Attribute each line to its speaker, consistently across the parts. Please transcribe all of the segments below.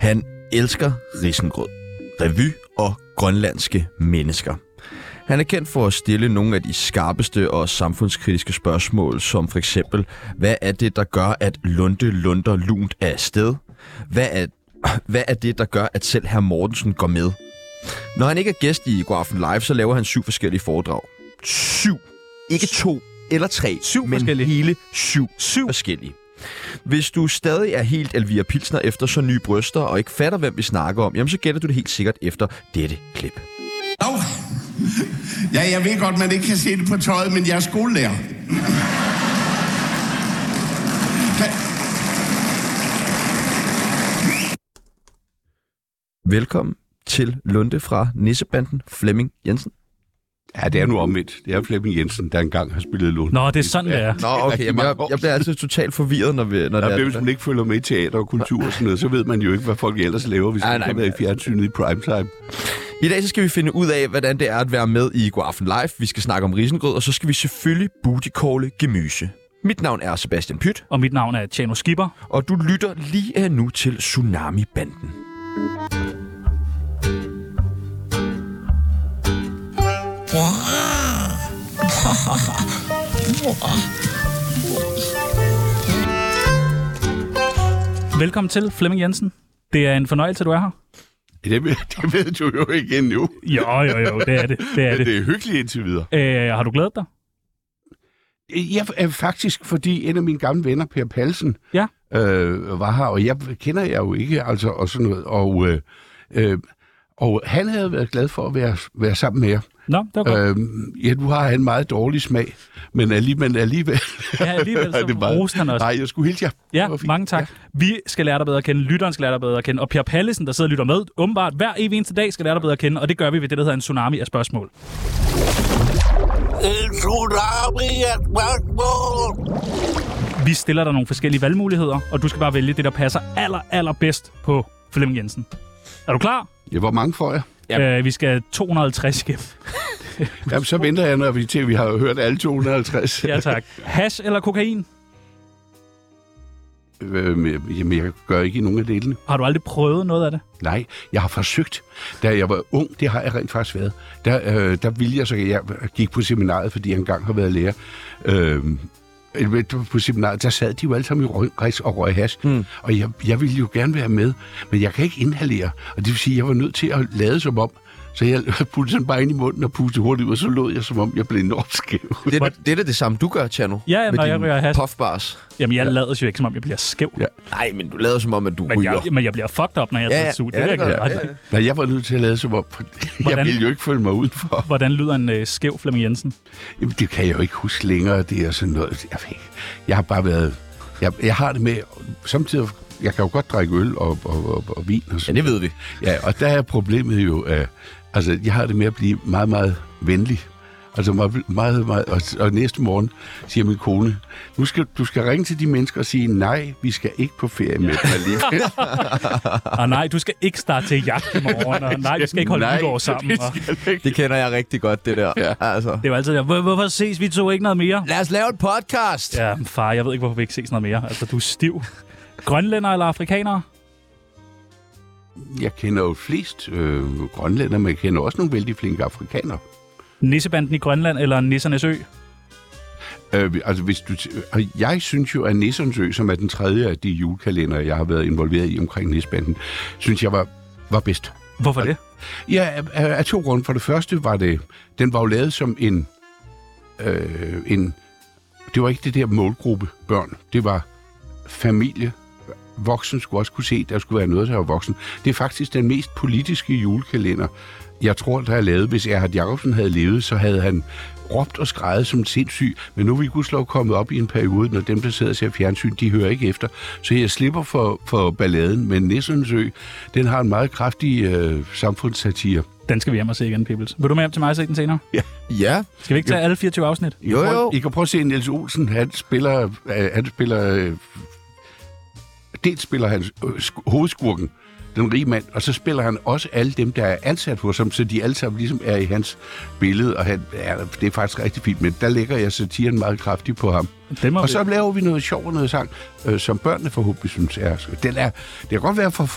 Speaker 1: Han elsker risengrød, revy og grønlandske mennesker. Han er kendt for at stille nogle af de skarpeste og samfundskritiske spørgsmål, som for eksempel, hvad er det, der gør, at Lunde lunder lunt af sted? Hvad er, hvad er det, der gør, at selv herr Mortensen går med? Når han ikke er gæst i God Aften Live, så laver han syv forskellige foredrag. Syv. Ikke to eller tre,
Speaker 2: Syv
Speaker 1: men
Speaker 2: forskellige.
Speaker 1: hele syv,
Speaker 2: Syv.
Speaker 1: forskellige. Hvis du stadig er helt Elvira Pilsner efter så nye bryster og ikke fatter, hvem vi snakker om, jamen så gætter du det helt sikkert efter dette klip.
Speaker 3: Dog. Ja, jeg ved godt, man ikke kan se det på tøjet, men jeg er skolelærer. Kan-
Speaker 1: Velkommen til Lunde fra Nissebanden, Flemming Jensen.
Speaker 4: Ja, det er nu omvendt. Det er Flemming Jensen, der engang har spillet Lund.
Speaker 2: Nå, det er sådan, det er.
Speaker 1: Nå, okay, jamen, jeg, jeg bliver altid totalt forvirret, når, vi, når
Speaker 4: Der
Speaker 1: det
Speaker 4: bliver,
Speaker 1: er...
Speaker 4: hvis man ikke følger med i teater og kultur og sådan noget, så ved man jo ikke, hvad folk ellers laver, hvis
Speaker 1: Ej,
Speaker 4: de ikke
Speaker 1: nej,
Speaker 4: har været i fjernsynet i primetime.
Speaker 1: I dag så skal vi finde ud af, hvordan det er at være med i God Aften Live. Vi skal snakke om risengrød, og så skal vi selvfølgelig bootycalle gemyse. Mit navn er Sebastian Pyt,
Speaker 2: Og mit navn er Tjano Skipper.
Speaker 1: og du lytter lige af nu til Tsunami-banden.
Speaker 2: Velkommen til, Flemming Jensen. Det er en fornøjelse, du er her.
Speaker 4: Det ved, det ved du jo ikke endnu.
Speaker 2: Jo, jo, jo, det er det. Det er
Speaker 4: Men
Speaker 2: det.
Speaker 4: det er hyggeligt indtil videre.
Speaker 2: Øh, har du glædet dig?
Speaker 4: Jeg er faktisk, fordi en af mine gamle venner, Per Palsen,
Speaker 2: Ja.
Speaker 4: øh, var her, og jeg kender jeg jo ikke, altså, og sådan noget. Og, øh, øh, og han havde været glad for at være, være sammen med jer.
Speaker 2: Nå, det var godt.
Speaker 4: Øh, ja, nu har han meget dårlig smag, men alligevel... alligevel
Speaker 2: Ja, alligevel, så
Speaker 4: er det bare-
Speaker 2: roste han også.
Speaker 4: Nej, jeg skulle hilse jer.
Speaker 2: Ja,
Speaker 4: Det var fint.
Speaker 2: mange tak. Vi skal lære dig bedre at kende, lytteren skal lære dig bedre at kende, og Per Pallesen, der sidder og lytter med, åbenbart hver evig eneste dag skal lære dig bedre at kende, og det gør vi ved det, der hedder en tsunami af spørgsmål.
Speaker 5: En tsunami af spørgsmål.
Speaker 2: Vi stiller dig nogle forskellige valgmuligheder, og du skal bare vælge det, der passer aller, aller bedst på Flemming Jensen. Er du klar?
Speaker 4: Ja, hvor mange får jeg?
Speaker 1: Ja.
Speaker 2: Øh, vi skal 250 igennem.
Speaker 4: Jamen, så venter jeg, når vi til, vi har hørt alle 250.
Speaker 2: Ja, tak. Hash eller kokain?
Speaker 4: Øhm, Jamen, jeg gør ikke nogen af delene.
Speaker 2: Har du aldrig prøvet noget af det?
Speaker 4: Nej, jeg har forsøgt. Da jeg var ung, det har jeg rent faktisk været, der, øh, der ville jeg så, jeg gik på seminariet, fordi jeg engang har været lærer. Øh, på seminariet, der sad de jo alle sammen i røgræs og røg hash. Mm. Og jeg, jeg ville jo gerne være med, men jeg kan ikke inhalere. Og det vil sige, at jeg var nødt til at lade som om, så jeg puttede sådan bare ind i munden og pustede hurtigt ud, og så lod jeg som om, jeg blev enormt skæv.
Speaker 1: Det, er- det er da det samme, du gør, Tjerno.
Speaker 2: Ja, ja,
Speaker 1: med
Speaker 2: når jeg
Speaker 1: dine
Speaker 2: ryger hash.
Speaker 1: puffbars.
Speaker 2: Jamen, jeg lader jo ikke, som om jeg bliver skæv.
Speaker 4: Ja.
Speaker 1: Nej, men du lader som om, at du
Speaker 2: Men
Speaker 1: ryger.
Speaker 2: jeg, men jeg bliver fucked up, når jeg
Speaker 1: Ja,
Speaker 2: er
Speaker 1: ja.
Speaker 2: sut.
Speaker 1: Ja,
Speaker 2: Det er
Speaker 1: det
Speaker 2: ikke
Speaker 1: gør jeg.
Speaker 2: ret.
Speaker 1: Ja, ja.
Speaker 4: Nej, jeg var nødt til at lade som om,
Speaker 2: Hvordan?
Speaker 4: jeg ville jo ikke føle mig udenfor.
Speaker 2: Hvordan lyder en øh, skæv Flemming Jensen?
Speaker 4: Jamen, det kan jeg jo ikke huske længere, det er sådan noget. Jeg, ved, ikke. jeg har bare været... Jeg, jeg har det med... Samtidig, jeg kan jo godt drikke øl og, og, og, og vin og
Speaker 1: Ja,
Speaker 4: sådan
Speaker 1: det ved vi.
Speaker 4: Ja, og der er problemet jo... Øh, altså, jeg har det med at blive meget, meget venlig. Altså meget, meget, meget og, og næste morgen siger min kone, nu skal, du skal ringe til de mennesker og sige, nej, vi skal ikke på ferie med dig alligevel."
Speaker 2: Ah, nej, du skal ikke starte til jagt i morgen. Og, nej, vi skal ikke holde
Speaker 4: Nej,
Speaker 2: nytår sammen. Og,
Speaker 1: Det kender jeg rigtig godt, det der. ja. altså.
Speaker 2: det er jo altid der, "Hvor- hvorfor ses vi to ikke noget mere?
Speaker 1: Lad os lave en podcast!
Speaker 2: Ja, men far, jeg ved ikke, hvorfor vi ikke ses noget mere. Altså, du er stiv. Grønlænder eller afrikanere?
Speaker 4: Jeg kender jo flest øh, grønlænder, men jeg kender også nogle vældig flinke afrikanere.
Speaker 2: Nissebanden i Grønland eller Nissernes Ø?
Speaker 4: Øh, altså, hvis du t- og jeg synes jo, at Nissons Ø, som er den tredje af de julekalender, jeg har været involveret i omkring Nissebanden, synes jeg var, var bedst.
Speaker 2: Hvorfor det?
Speaker 4: Ja, af, af af to grunde. For det første var det, den var jo lavet som en, øh, en, det var ikke det der målgruppe børn. Det var familie. Voksen skulle også kunne se, der skulle være noget, der var voksen. Det er faktisk den mest politiske julekalender, jeg tror, der er lavet. Hvis Erhard Jacobsen havde levet, så havde han råbt og skrejet som sindssyg, men nu er vi gudslov kommet op i en periode, når dem, der sidder og ser fjernsyn, de hører ikke efter. Så jeg slipper for, for balladen, men Nissens Ø, den har en meget kraftig øh, samfundssatire.
Speaker 2: Den skal vi hjem og se igen, Pibbles. Vil du med hjem til mig og se den senere?
Speaker 1: Ja.
Speaker 2: Skal vi ikke tage alle 24 afsnit?
Speaker 4: I kan
Speaker 1: Jo,
Speaker 4: prøve-
Speaker 1: jo.
Speaker 4: I kan prøve at se Niels Olsen, han spiller, øh, han spiller øh, dels spiller han øh, sk- hovedskurken, den rige mand, og så spiller han også alle dem, der er ansat hos ham, så de alle sammen ligesom er i hans billede, og han, ja, det er faktisk rigtig fint, men der lægger jeg satiren meget kraftigt på ham.
Speaker 2: Dem har
Speaker 4: og
Speaker 2: vi-
Speaker 4: så laver vi noget sjov og noget sang, øh, som børnene forhåbentlig synes er... Den er det kan godt være, for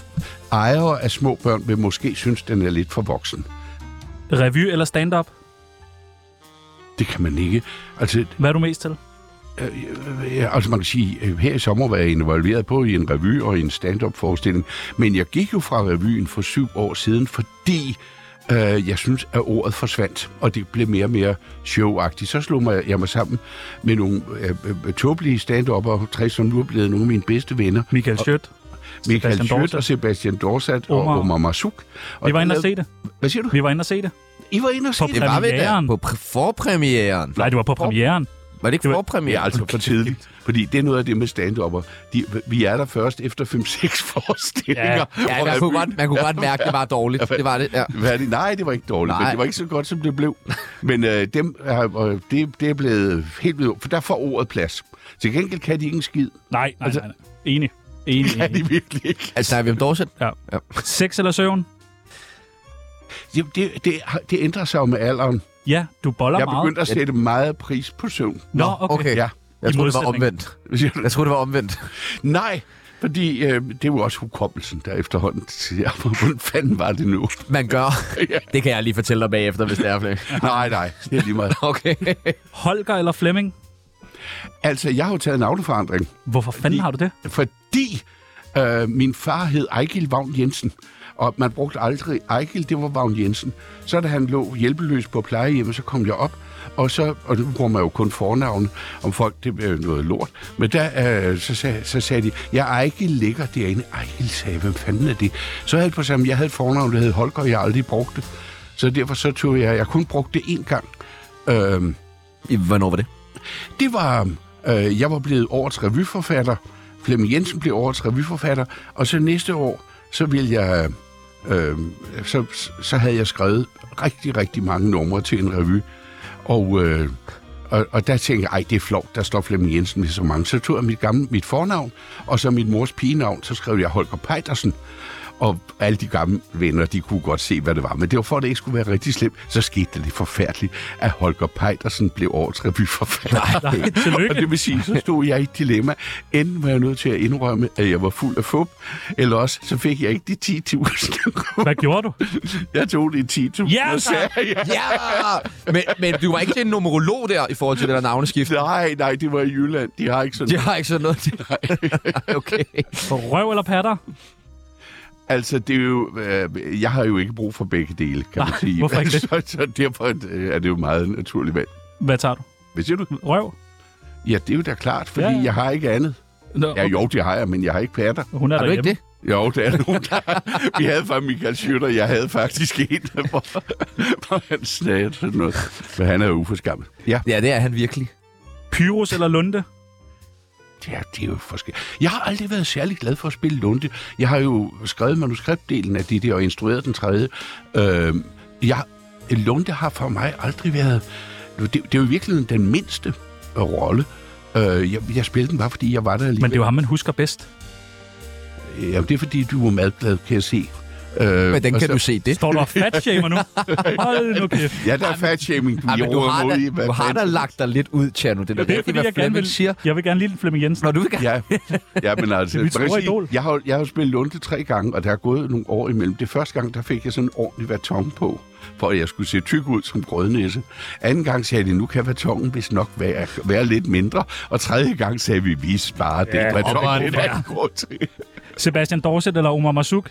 Speaker 4: ejere af små børn vil måske synes, den er lidt for voksen.
Speaker 2: Revy eller stand-up?
Speaker 4: Det kan man ikke. Altså,
Speaker 2: Hvad er du mest til?
Speaker 4: Ja, altså man kan sige, øh, her i sommer var jeg involveret på i en revy og i en stand-up forestilling, men jeg gik jo fra revyen for syv år siden, fordi øh, jeg synes, at ordet forsvandt, og det blev mere og mere showagtigt. Så slog mig, jeg mig sammen med nogle øh, øh, tåbelige stand-upper, tre som nu er blevet nogle af mine bedste venner,
Speaker 2: Michael Schødt.
Speaker 4: Michael
Speaker 2: Sebastian
Speaker 4: Schødt
Speaker 2: Dorset.
Speaker 4: og Sebastian Dorsat og
Speaker 2: Omar.
Speaker 4: Omar Masuk.
Speaker 2: Vi var inde og se det.
Speaker 4: Hvad siger du?
Speaker 2: Vi var inde og se det.
Speaker 4: I var inde og se
Speaker 2: Top
Speaker 4: det?
Speaker 1: Det var vel der
Speaker 2: Premieren.
Speaker 1: på pr- forpremieren.
Speaker 2: Nej, det var på premieren.
Speaker 1: Var det ikke
Speaker 2: var-
Speaker 4: Det er
Speaker 1: forpremieren?
Speaker 4: altså for tidligt, fordi det er noget af det med stand-upper. De, vi er der først efter 5-6 forestillinger.
Speaker 1: Ja,
Speaker 4: hvor
Speaker 1: man kunne,
Speaker 4: revyen-
Speaker 1: godt, man kunne godt mærke, at det var dårligt. Det var det, ja.
Speaker 4: Hvad er det? Nej, det var ikke dårligt, Nej. men
Speaker 1: Nej.
Speaker 4: det var ikke så godt, som det blev. Men øh, dem er, øh, det, det er blevet helt vildt, for der får ordet plads. Til gengæld kan de ikke en skid.
Speaker 2: Nej, nej,
Speaker 4: Altså-
Speaker 2: nej. nej. Enig. Enig,
Speaker 4: Er
Speaker 2: enig.
Speaker 4: de virkelig ikke?
Speaker 1: Altså, Hvem Dorset?
Speaker 2: Sex eller søvn?
Speaker 4: Jamen, det, det, det ændrer sig jo med alderen.
Speaker 2: Ja, du boller
Speaker 4: Jeg
Speaker 2: meget.
Speaker 4: begyndte at sætte meget pris på søvn.
Speaker 2: Nå, okay.
Speaker 1: Okay.
Speaker 4: Ja.
Speaker 1: Jeg troede,
Speaker 2: I
Speaker 1: det var
Speaker 2: modsætning.
Speaker 1: omvendt.
Speaker 4: Siger du?
Speaker 1: Jeg troede, det var omvendt.
Speaker 4: Nej, fordi øh, det er jo også hukommelsen, der efterhånden siger, hvordan fanden var det nu?
Speaker 1: Man gør.
Speaker 4: Ja.
Speaker 1: Det kan jeg lige fortælle dig bagefter, hvis det er flere.
Speaker 4: nej, nej, det er lige meget.
Speaker 1: Okay.
Speaker 2: Holger eller Flemming?
Speaker 4: Altså, jeg har jo taget en autoforandring.
Speaker 2: Hvorfor fanden har du det?
Speaker 4: fordi øh, min far hed Ejgil Vagn Jensen, og man brugte aldrig Ejgil, det var Vagn Jensen. Så da han lå hjælpeløs på plejehjemmet, så kom jeg op, og så, og nu bruger man jo kun fornavne om folk, det er noget lort, men der, øh, så, sag, så sagde de, ja, Ejgil ligger derinde. Ejgil sagde, hvem fanden er det? Så havde jeg på sammen, jeg havde et fornavn, der hed Holger, og jeg aldrig brugte det. Så derfor så tog jeg, jeg kun brugte det én gang. Øh,
Speaker 1: I- Hvornår var det?
Speaker 4: det var, øh, jeg var blevet årets revyforfatter. Flemming Jensen blev årets revyforfatter. Og så næste år, så ville jeg... Øh, så, så havde jeg skrevet rigtig, rigtig mange numre til en revy. Og, øh, og, og der tænkte jeg, ej, det er flot, der står Flemming Jensen med så mange. Så tog jeg mit, gamle, mit fornavn, og så mit mors pigenavn, så skrev jeg Holger Pejdersen. Og alle de gamle venner, de kunne godt se, hvad det var. Men det var for, at det ikke skulle være rigtig slemt. Så skete det lidt forfærdeligt, at Holger Pejdersen blev årets revyforfatter.
Speaker 2: Nej, tillykke.
Speaker 4: Og det vil sige, så stod jeg i et dilemma. Enten var jeg nødt til at indrømme, at jeg var fuld af fup, eller også, så fik jeg ikke de 10.000.
Speaker 2: Hvad gjorde du?
Speaker 4: jeg tog de 10.000
Speaker 2: Ja,
Speaker 4: og sagde,
Speaker 1: Ja! Men, men du var ikke til en numerolog der i forhold til det der navneskift.
Speaker 4: nej, nej, det var i Jylland. De har ikke sådan
Speaker 1: Jeg har ikke sådan noget. okay.
Speaker 2: Røv eller patter?
Speaker 4: Altså, det er jo, øh, jeg har jo ikke brug for begge dele, kan man
Speaker 2: Nej,
Speaker 4: sige.
Speaker 2: hvorfor ikke det?
Speaker 4: så, så derfor øh, er det jo meget naturligt valg.
Speaker 2: Hvad tager du?
Speaker 4: Hvad siger du?
Speaker 2: Røv?
Speaker 4: Ja, det er jo da klart, fordi
Speaker 2: Ja,
Speaker 4: ja,
Speaker 2: ja.
Speaker 4: ja. jeg har ikke andet.
Speaker 2: Nå,
Speaker 4: Ja, jo, det har jeg, men jeg har ikke patter.
Speaker 2: Hun er,
Speaker 1: Har du
Speaker 2: derhjemme.
Speaker 1: ikke det?
Speaker 4: Jo, det er nogen, der Vi havde faktisk Michael Schøtter, jeg havde faktisk en, hvor, hvor han snakkede sådan noget. Men han er jo uforskammet. Ja,
Speaker 1: Ja, det er han virkelig.
Speaker 2: Pyrus eller lunde?
Speaker 4: det er, det er jo forskelligt. Jeg har aldrig været særlig glad for at spille Lunde. Jeg har jo skrevet manuskriptdelen af det der og instrueret den tredje. Øh, jeg, Lunde har for mig aldrig været... Det, det er jo virkelig den mindste rolle. Øh, jeg, jeg spillede den bare, fordi jeg var der alligevel.
Speaker 2: Men det er jo ham, man husker bedst.
Speaker 4: Ja, det er fordi, du er madglad, kan jeg se. Øh,
Speaker 1: Hvordan
Speaker 4: og
Speaker 1: kan
Speaker 4: så-
Speaker 1: du se det?
Speaker 2: Står du og fatshamer nu? Hold nu kæft.
Speaker 4: Ja, der er fatshaming, du,
Speaker 1: Ej, men du
Speaker 4: roder
Speaker 1: har,
Speaker 4: mod
Speaker 1: da,
Speaker 4: i, hvad
Speaker 1: du har
Speaker 4: fanden-
Speaker 1: da lagt dig lidt ud, Tjerno. Det er da
Speaker 2: Det er
Speaker 1: rigtigt,
Speaker 2: fordi,
Speaker 1: hvad
Speaker 2: jeg gerne
Speaker 1: Flemming
Speaker 2: vil,
Speaker 1: siger.
Speaker 2: jeg vil gerne lide Flemming Jensen.
Speaker 1: Når du vil gerne...
Speaker 4: Ja, ja, men altså...
Speaker 2: Det er mit
Speaker 4: man kan
Speaker 2: store
Speaker 4: sige,
Speaker 2: idol.
Speaker 4: Jeg har, jo- jeg har jo spillet Lunde tre gange, og der er gået nogle år imellem. Det første gang, der fik jeg sådan en ordentlig vaton på, for at jeg skulle se tyk ud som grødnæse. Anden gang sagde de, nu kan vatongen vist nok være, være lidt mindre. Og tredje gang sagde vi, vi sparer ja, det.
Speaker 1: og hvor er det
Speaker 4: Vatongen det
Speaker 1: værd.
Speaker 4: er god til.
Speaker 2: Sebastian Dorset eller Omar Masuk?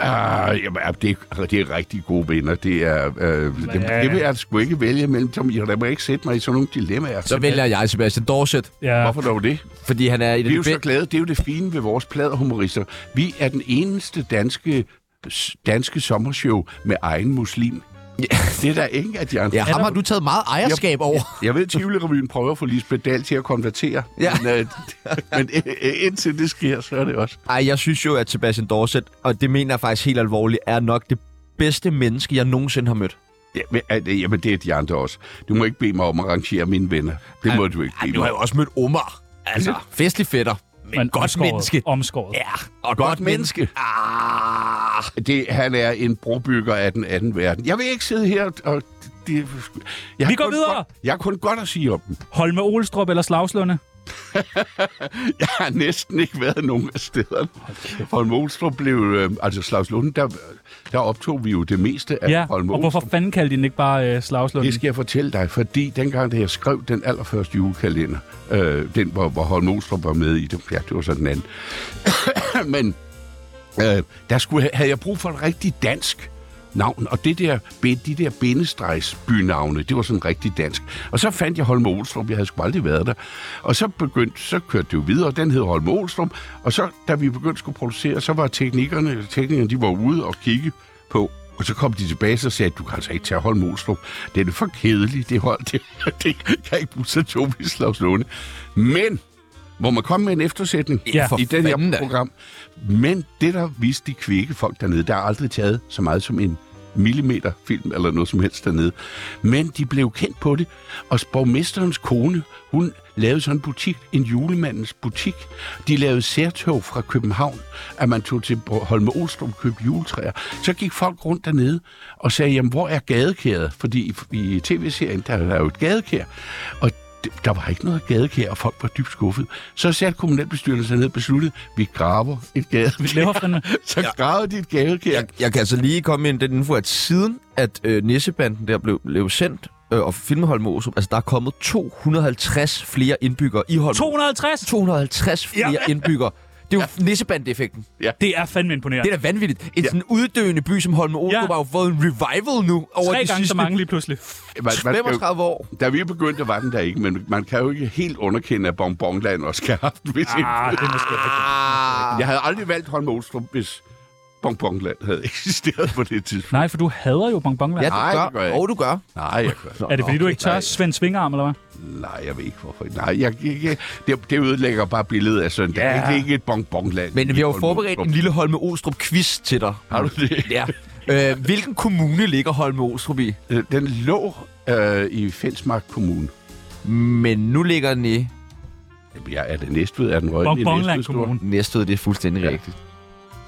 Speaker 4: Ah, jamen, ja, det, er, det er rigtig gode venner. Det, er, øh, det, det vil jeg sgu ikke vælge mellem. Tom, jeg der må ikke sætte mig i sådan nogle dilemmaer.
Speaker 1: Så vælger jeg Sebastian Dorset,
Speaker 2: Ja,
Speaker 4: Hvorfor dog det?
Speaker 1: fordi han er i
Speaker 4: Vi er jo
Speaker 1: det
Speaker 4: så glade. Det er jo det fine ved vores pladerhumorister. Vi er den eneste danske s- danske sommershow med egen muslim.
Speaker 1: Ja.
Speaker 4: Det er der ingen af de andre.
Speaker 1: Ja, ham har du taget meget ejerskab over.
Speaker 4: Jeg ved, at Tivoli-revyen prøver at få Lisbeth Dahl til at konvertere,
Speaker 1: Ja.
Speaker 4: men, øh, men øh, øh, indtil det sker, så er det også.
Speaker 1: Ej, jeg synes jo, at Sebastian Dorset, og det mener jeg faktisk helt alvorligt, er nok det bedste menneske, jeg nogensinde har mødt.
Speaker 4: Ja, men, øh, jamen, det er de andre også. Du må ikke bede mig om at rangere mine venner. Det må du ikke bede mig
Speaker 1: jo
Speaker 4: om.
Speaker 1: også mødt Omar. Altså, festlig fætter. Men
Speaker 2: Men
Speaker 1: godt
Speaker 2: omskåret,
Speaker 1: menneske.
Speaker 2: Omskåret.
Speaker 1: Ja, og
Speaker 4: Godt menneske.
Speaker 1: Ah,
Speaker 4: Det, han er en brobygger af den anden verden. Jeg vil ikke sidde her og... Det, jeg har
Speaker 2: Vi går
Speaker 4: kun
Speaker 2: videre.
Speaker 4: Godt, jeg har kun godt at sige om dem.
Speaker 2: Holme Olstrup eller Slagslunde?
Speaker 4: Jeg har næsten ikke været nogen af stederne. Holm Olstrup blev... Øh, altså Slavs Lunde, der, der optog vi jo det meste af
Speaker 2: Ja,
Speaker 4: Holm
Speaker 2: og hvorfor fanden kaldte de den ikke bare øh, Slagslunde?
Speaker 4: Det skal jeg fortælle dig, fordi dengang, da jeg skrev den allerførste julekalender, øh, den, hvor, hvor Holm Olstrup var med i, det, ja, det var så den anden, men øh, der skulle, havde jeg brug for et rigtig dansk navn, og det der, be- de der bindestregsbynavne, det var sådan rigtig dansk. Og så fandt jeg Holm Olstrup, jeg havde sgu aldrig været der. Og så begyndte, så kørte det jo videre, og den hed Holm Olstrup, og så, da vi begyndte at skulle producere, så var teknikerne, teknikerne, de var ude og kigge på, og så kom de tilbage og sagde, du kan altså ikke tage Holm Olstrup. Det er det for kedeligt, det hold. Det, det kan ikke bruge sig til Tobias Lunde. Men må man komme med en eftersætning
Speaker 2: Ja.
Speaker 1: for
Speaker 4: i den
Speaker 1: fanden da.
Speaker 4: her program. Men det, der viste de kvikke folk dernede, der har aldrig taget så meget som en millimeter film eller noget som helst dernede. Men de blev kendt på det, og borgmesterens kone, hun lavede sådan en butik, en julemandens butik. De lavede særtog fra København, at man tog til Holme Olstrup og købte juletræer. Så gik folk rundt dernede og sagde, jamen hvor er gadekæret? Fordi i, i tv-serien, der er jo et gadekær. Og der var ikke noget gadekær, og folk var dybt skuffet. Så satte kommunalbestyrelsen sig ned og besluttede, vi graver et
Speaker 2: Vi
Speaker 4: gadekær.
Speaker 2: laver fandme...
Speaker 4: Så gravede de et gadekær.
Speaker 1: Jeg, jeg kan altså lige komme ind i den info, at siden at øh, Nissebanden der blev, blev sendt øh, og filmet Holme Olstrup, altså der er kommet 250 flere indbyggere i Holme.
Speaker 2: 250?
Speaker 1: 250 flere ja. indbyggere. Det er jo Nissebanden-effekten.
Speaker 2: Det er fandme imponerende.
Speaker 1: Det er da vanvittigt. En ja. sådan uddøende by som Holme Olstrup
Speaker 2: Ja.
Speaker 1: ja. har jo fået en revival nu over de
Speaker 2: Tre gange
Speaker 1: sidste
Speaker 2: så mange lige pludselig.
Speaker 4: Man, man, kan jo-
Speaker 1: 35 år.
Speaker 4: da vi begyndte, var den der ikke, men man kan jo ikke helt underkende, at Bonbonland også skal have haft hvis
Speaker 2: Ah,
Speaker 4: ikke.
Speaker 2: det er måske rigtigt.
Speaker 4: Jeg havde aldrig valgt Holm Olstrup, hvis Bonbonland havde eksisteret på det tidspunkt.
Speaker 2: Nej, for du hader jo bonbonland.
Speaker 1: Ja, du
Speaker 4: Nej,
Speaker 2: Ja,
Speaker 4: det
Speaker 1: gør.
Speaker 4: gør jeg ikke.
Speaker 1: Og du gør.
Speaker 4: Nej, jeg gør
Speaker 2: er det fordi, du ikke tør
Speaker 4: Nej.
Speaker 2: Svend Svingarm, eller hvad?
Speaker 4: Nej, jeg ved ikke hvorfor. Nej, jeg, jeg, jeg, det, det ødelægger bare billedet af søndag. Ja. Det er ikke et bonbonland.
Speaker 1: Men vi har jo
Speaker 4: Holme
Speaker 1: forberedt en
Speaker 4: Olstrup.
Speaker 1: lille Holme Olstrup-quiz til dig.
Speaker 4: Har du det?
Speaker 1: Ja. Øh, hvilken kommune ligger Holme Olstrup i?
Speaker 4: Øh, Den lå øh, i Fensmark Kommune.
Speaker 1: Men nu ligger den i
Speaker 4: Jamen, Jeg er det Næstved, er den røde
Speaker 2: Bonbonland Kommune.
Speaker 1: Næstved, det er fuldstændig ja. rigtigt.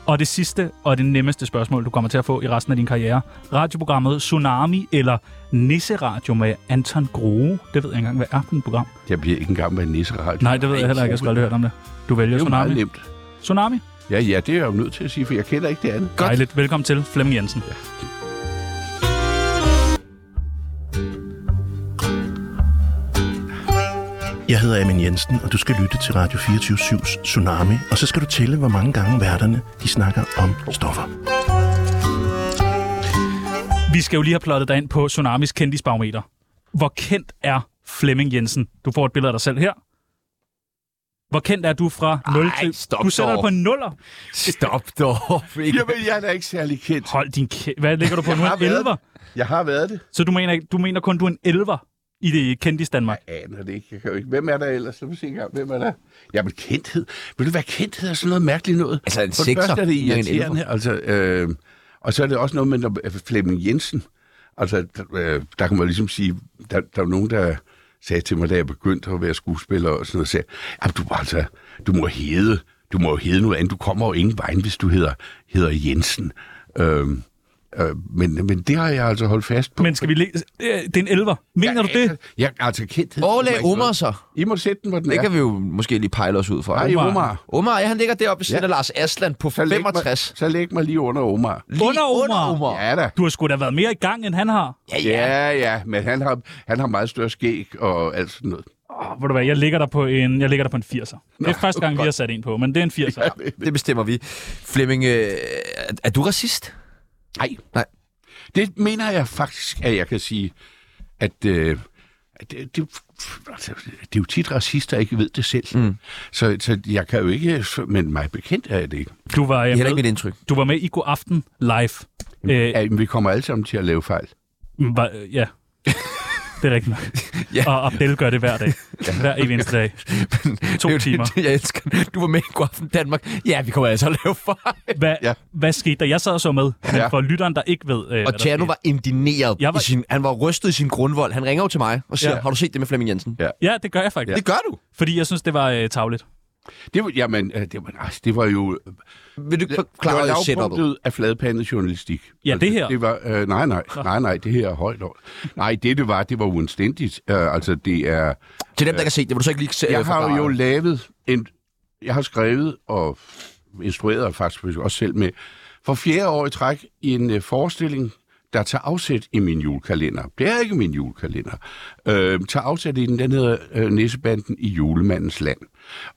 Speaker 2: Og det sidste og det nemmeste spørgsmål, du kommer til at få i resten af din karriere. Radioprogrammet Tsunami eller Nisseradio med Anton Grue. Det ved jeg ikke engang, hvad er for et program.
Speaker 4: Jeg bliver ikke engang med en nisseradio.
Speaker 2: Nej, det ved jeg heller ikke. Jeg skal aldrig hørt om det. Du vælger
Speaker 4: Det er jo meget
Speaker 2: Tsunami.
Speaker 4: nemt.
Speaker 2: Tsunami?
Speaker 4: Ja, ja, det er jeg jo nødt til at sige, for jeg kender ikke det andet.
Speaker 1: Godt.
Speaker 2: Dejligt. Velkommen til Flemming Jensen.
Speaker 6: Jeg hedder Amin Jensen, og du skal lytte til Radio 24-7's Tsunami, og så skal du tælle, hvor mange gange værterne de snakker om stoffer.
Speaker 2: Vi skal jo lige have plottet dig ind på Tsunamis kendisbarometer. Hvor kendt er Flemming Jensen? Du får et billede af dig selv her. Hvor kendt er du fra 0 til...
Speaker 1: stop
Speaker 2: du sætter
Speaker 1: dog.
Speaker 2: dig på en nuller.
Speaker 1: Stop dog. Ikke?
Speaker 4: Jamen, jeg er da ikke særlig kendt.
Speaker 2: Hold din kæ... Hvad ligger du på nu?
Speaker 4: har
Speaker 2: En
Speaker 4: været-
Speaker 2: elver?
Speaker 4: Jeg har været det.
Speaker 2: Så du mener, ikke- du mener kun, du er en elver i det kendis Danmark?
Speaker 4: Jeg aner det ikke. Jeg kan jo ikke. Hvem er der ellers? Lad mig se engang. Hvem er der? Jamen, kendthed. Vil du være kendthed er sådan noget mærkeligt noget?
Speaker 1: Altså, en
Speaker 4: For det
Speaker 1: sekser,
Speaker 4: første er det
Speaker 1: ikke en
Speaker 4: irriterende. Altså, øh, og så er det også noget med når øh, Flemming Jensen. Altså, der, øh, der kan man ligesom sige, der, der var nogen, der sagde til mig, da jeg begyndte at være skuespiller og sådan noget, sagde, at du, må altså, du må hede, du må jo hede noget andet. Du kommer jo ingen vejen, hvis du hedder, hedder Jensen. Øh, øh, men, men det har jeg altså holdt fast på.
Speaker 2: Men skal vi læ... Øh, Det er en elver. Mener du det?
Speaker 4: Jeg, altså, kendthed.
Speaker 1: Overlag Omar så.
Speaker 4: I må sætte den, hvor den
Speaker 1: Det
Speaker 4: er.
Speaker 1: kan vi jo måske lige pejle os ud fra.
Speaker 4: Nej,
Speaker 2: Omar.
Speaker 4: Omar.
Speaker 1: Omar, ja, han ligger deroppe ved siden af Lars Asland på
Speaker 4: Så læg
Speaker 1: 65.
Speaker 4: Mig, så læg mig lige under Omar.
Speaker 1: Lige
Speaker 2: Under Omar.
Speaker 4: Ja da.
Speaker 2: Du har sgu da været mere i gang, end han har.
Speaker 1: Ja, ja.
Speaker 4: Ja, ja, men han har, han har meget større skæg og alt sådan noget.
Speaker 2: Oh, ved du hvad, jeg ligger der på en, jeg ligger der på en 80'er. Det er første gang, vi har sat en på, men det er en 80'er.
Speaker 1: Det bestemmer vi. Flemming, øh, er- er du racist?
Speaker 4: Nej.
Speaker 1: Nej.
Speaker 4: Det mener jeg faktisk, at jeg kan sige, at øh, at det, det, altså, det er jo tit racister, der ikke ved det selv. Mm. Så, så jeg kan jo ikke, men mig bekendt er jeg det ikke.
Speaker 2: Du var,
Speaker 1: Det
Speaker 2: øh,
Speaker 1: er heller ikke Mm.
Speaker 2: med,
Speaker 1: mit indtryk.
Speaker 2: du var med i God Aften Live. Øh,
Speaker 4: Ja, men vi kommer alle sammen til at lave fejl.
Speaker 2: var, øh, ja, det er rigtigt nok. ja. Og Abdel gør det hver dag. Hver evig eneste dag. To
Speaker 1: Det er jo
Speaker 2: timer.
Speaker 1: Det, jeg elsker. Du var med i God Aften Danmark. Ja, vi kommer altså at lave fejl.
Speaker 2: Hvad, ja.
Speaker 4: Ja.
Speaker 2: hvad skete der? Jeg sad og så med, men
Speaker 4: Ja.
Speaker 2: for lytteren, der ikke ved... Øh, hvad
Speaker 1: Og
Speaker 2: der
Speaker 1: Tjerno
Speaker 2: skete.
Speaker 1: var indineret.
Speaker 2: Jeg var-
Speaker 1: I sin, han var rystet i sin grundvold. Han ringer jo til mig og siger,
Speaker 2: Ja.
Speaker 1: ja. har du set det med Flemming Jensen?
Speaker 4: Ja.
Speaker 2: Ja, det gør jeg faktisk. Ja.
Speaker 1: Det gør du.
Speaker 2: Fordi jeg synes, det var øh, tavligt.
Speaker 4: Det var, jamen, øh, det var, altså, det var jo...
Speaker 1: Vil du
Speaker 4: det
Speaker 1: forklare
Speaker 4: var
Speaker 1: setupet?
Speaker 4: lavpunktet af fladpandet journalistik.
Speaker 2: Ja, det her.
Speaker 4: Det var, øh, nej, nej, nej, nej, det her er højt over. Nej, det det var, det var uanstændigt. Øh, altså, det er...
Speaker 1: Til dem, der kan se det, vil du så ikke lige se
Speaker 4: Jeg har jo lavet en... Jeg har skrevet og instrueret, og faktisk også selv med, for fjerde år i træk, en øh, forestilling, der tager afsæt i min julekalender. Det er ikke min julekalender. Øh, tager afsæt i den, den hedder øh, Nissebanden i julemandens land.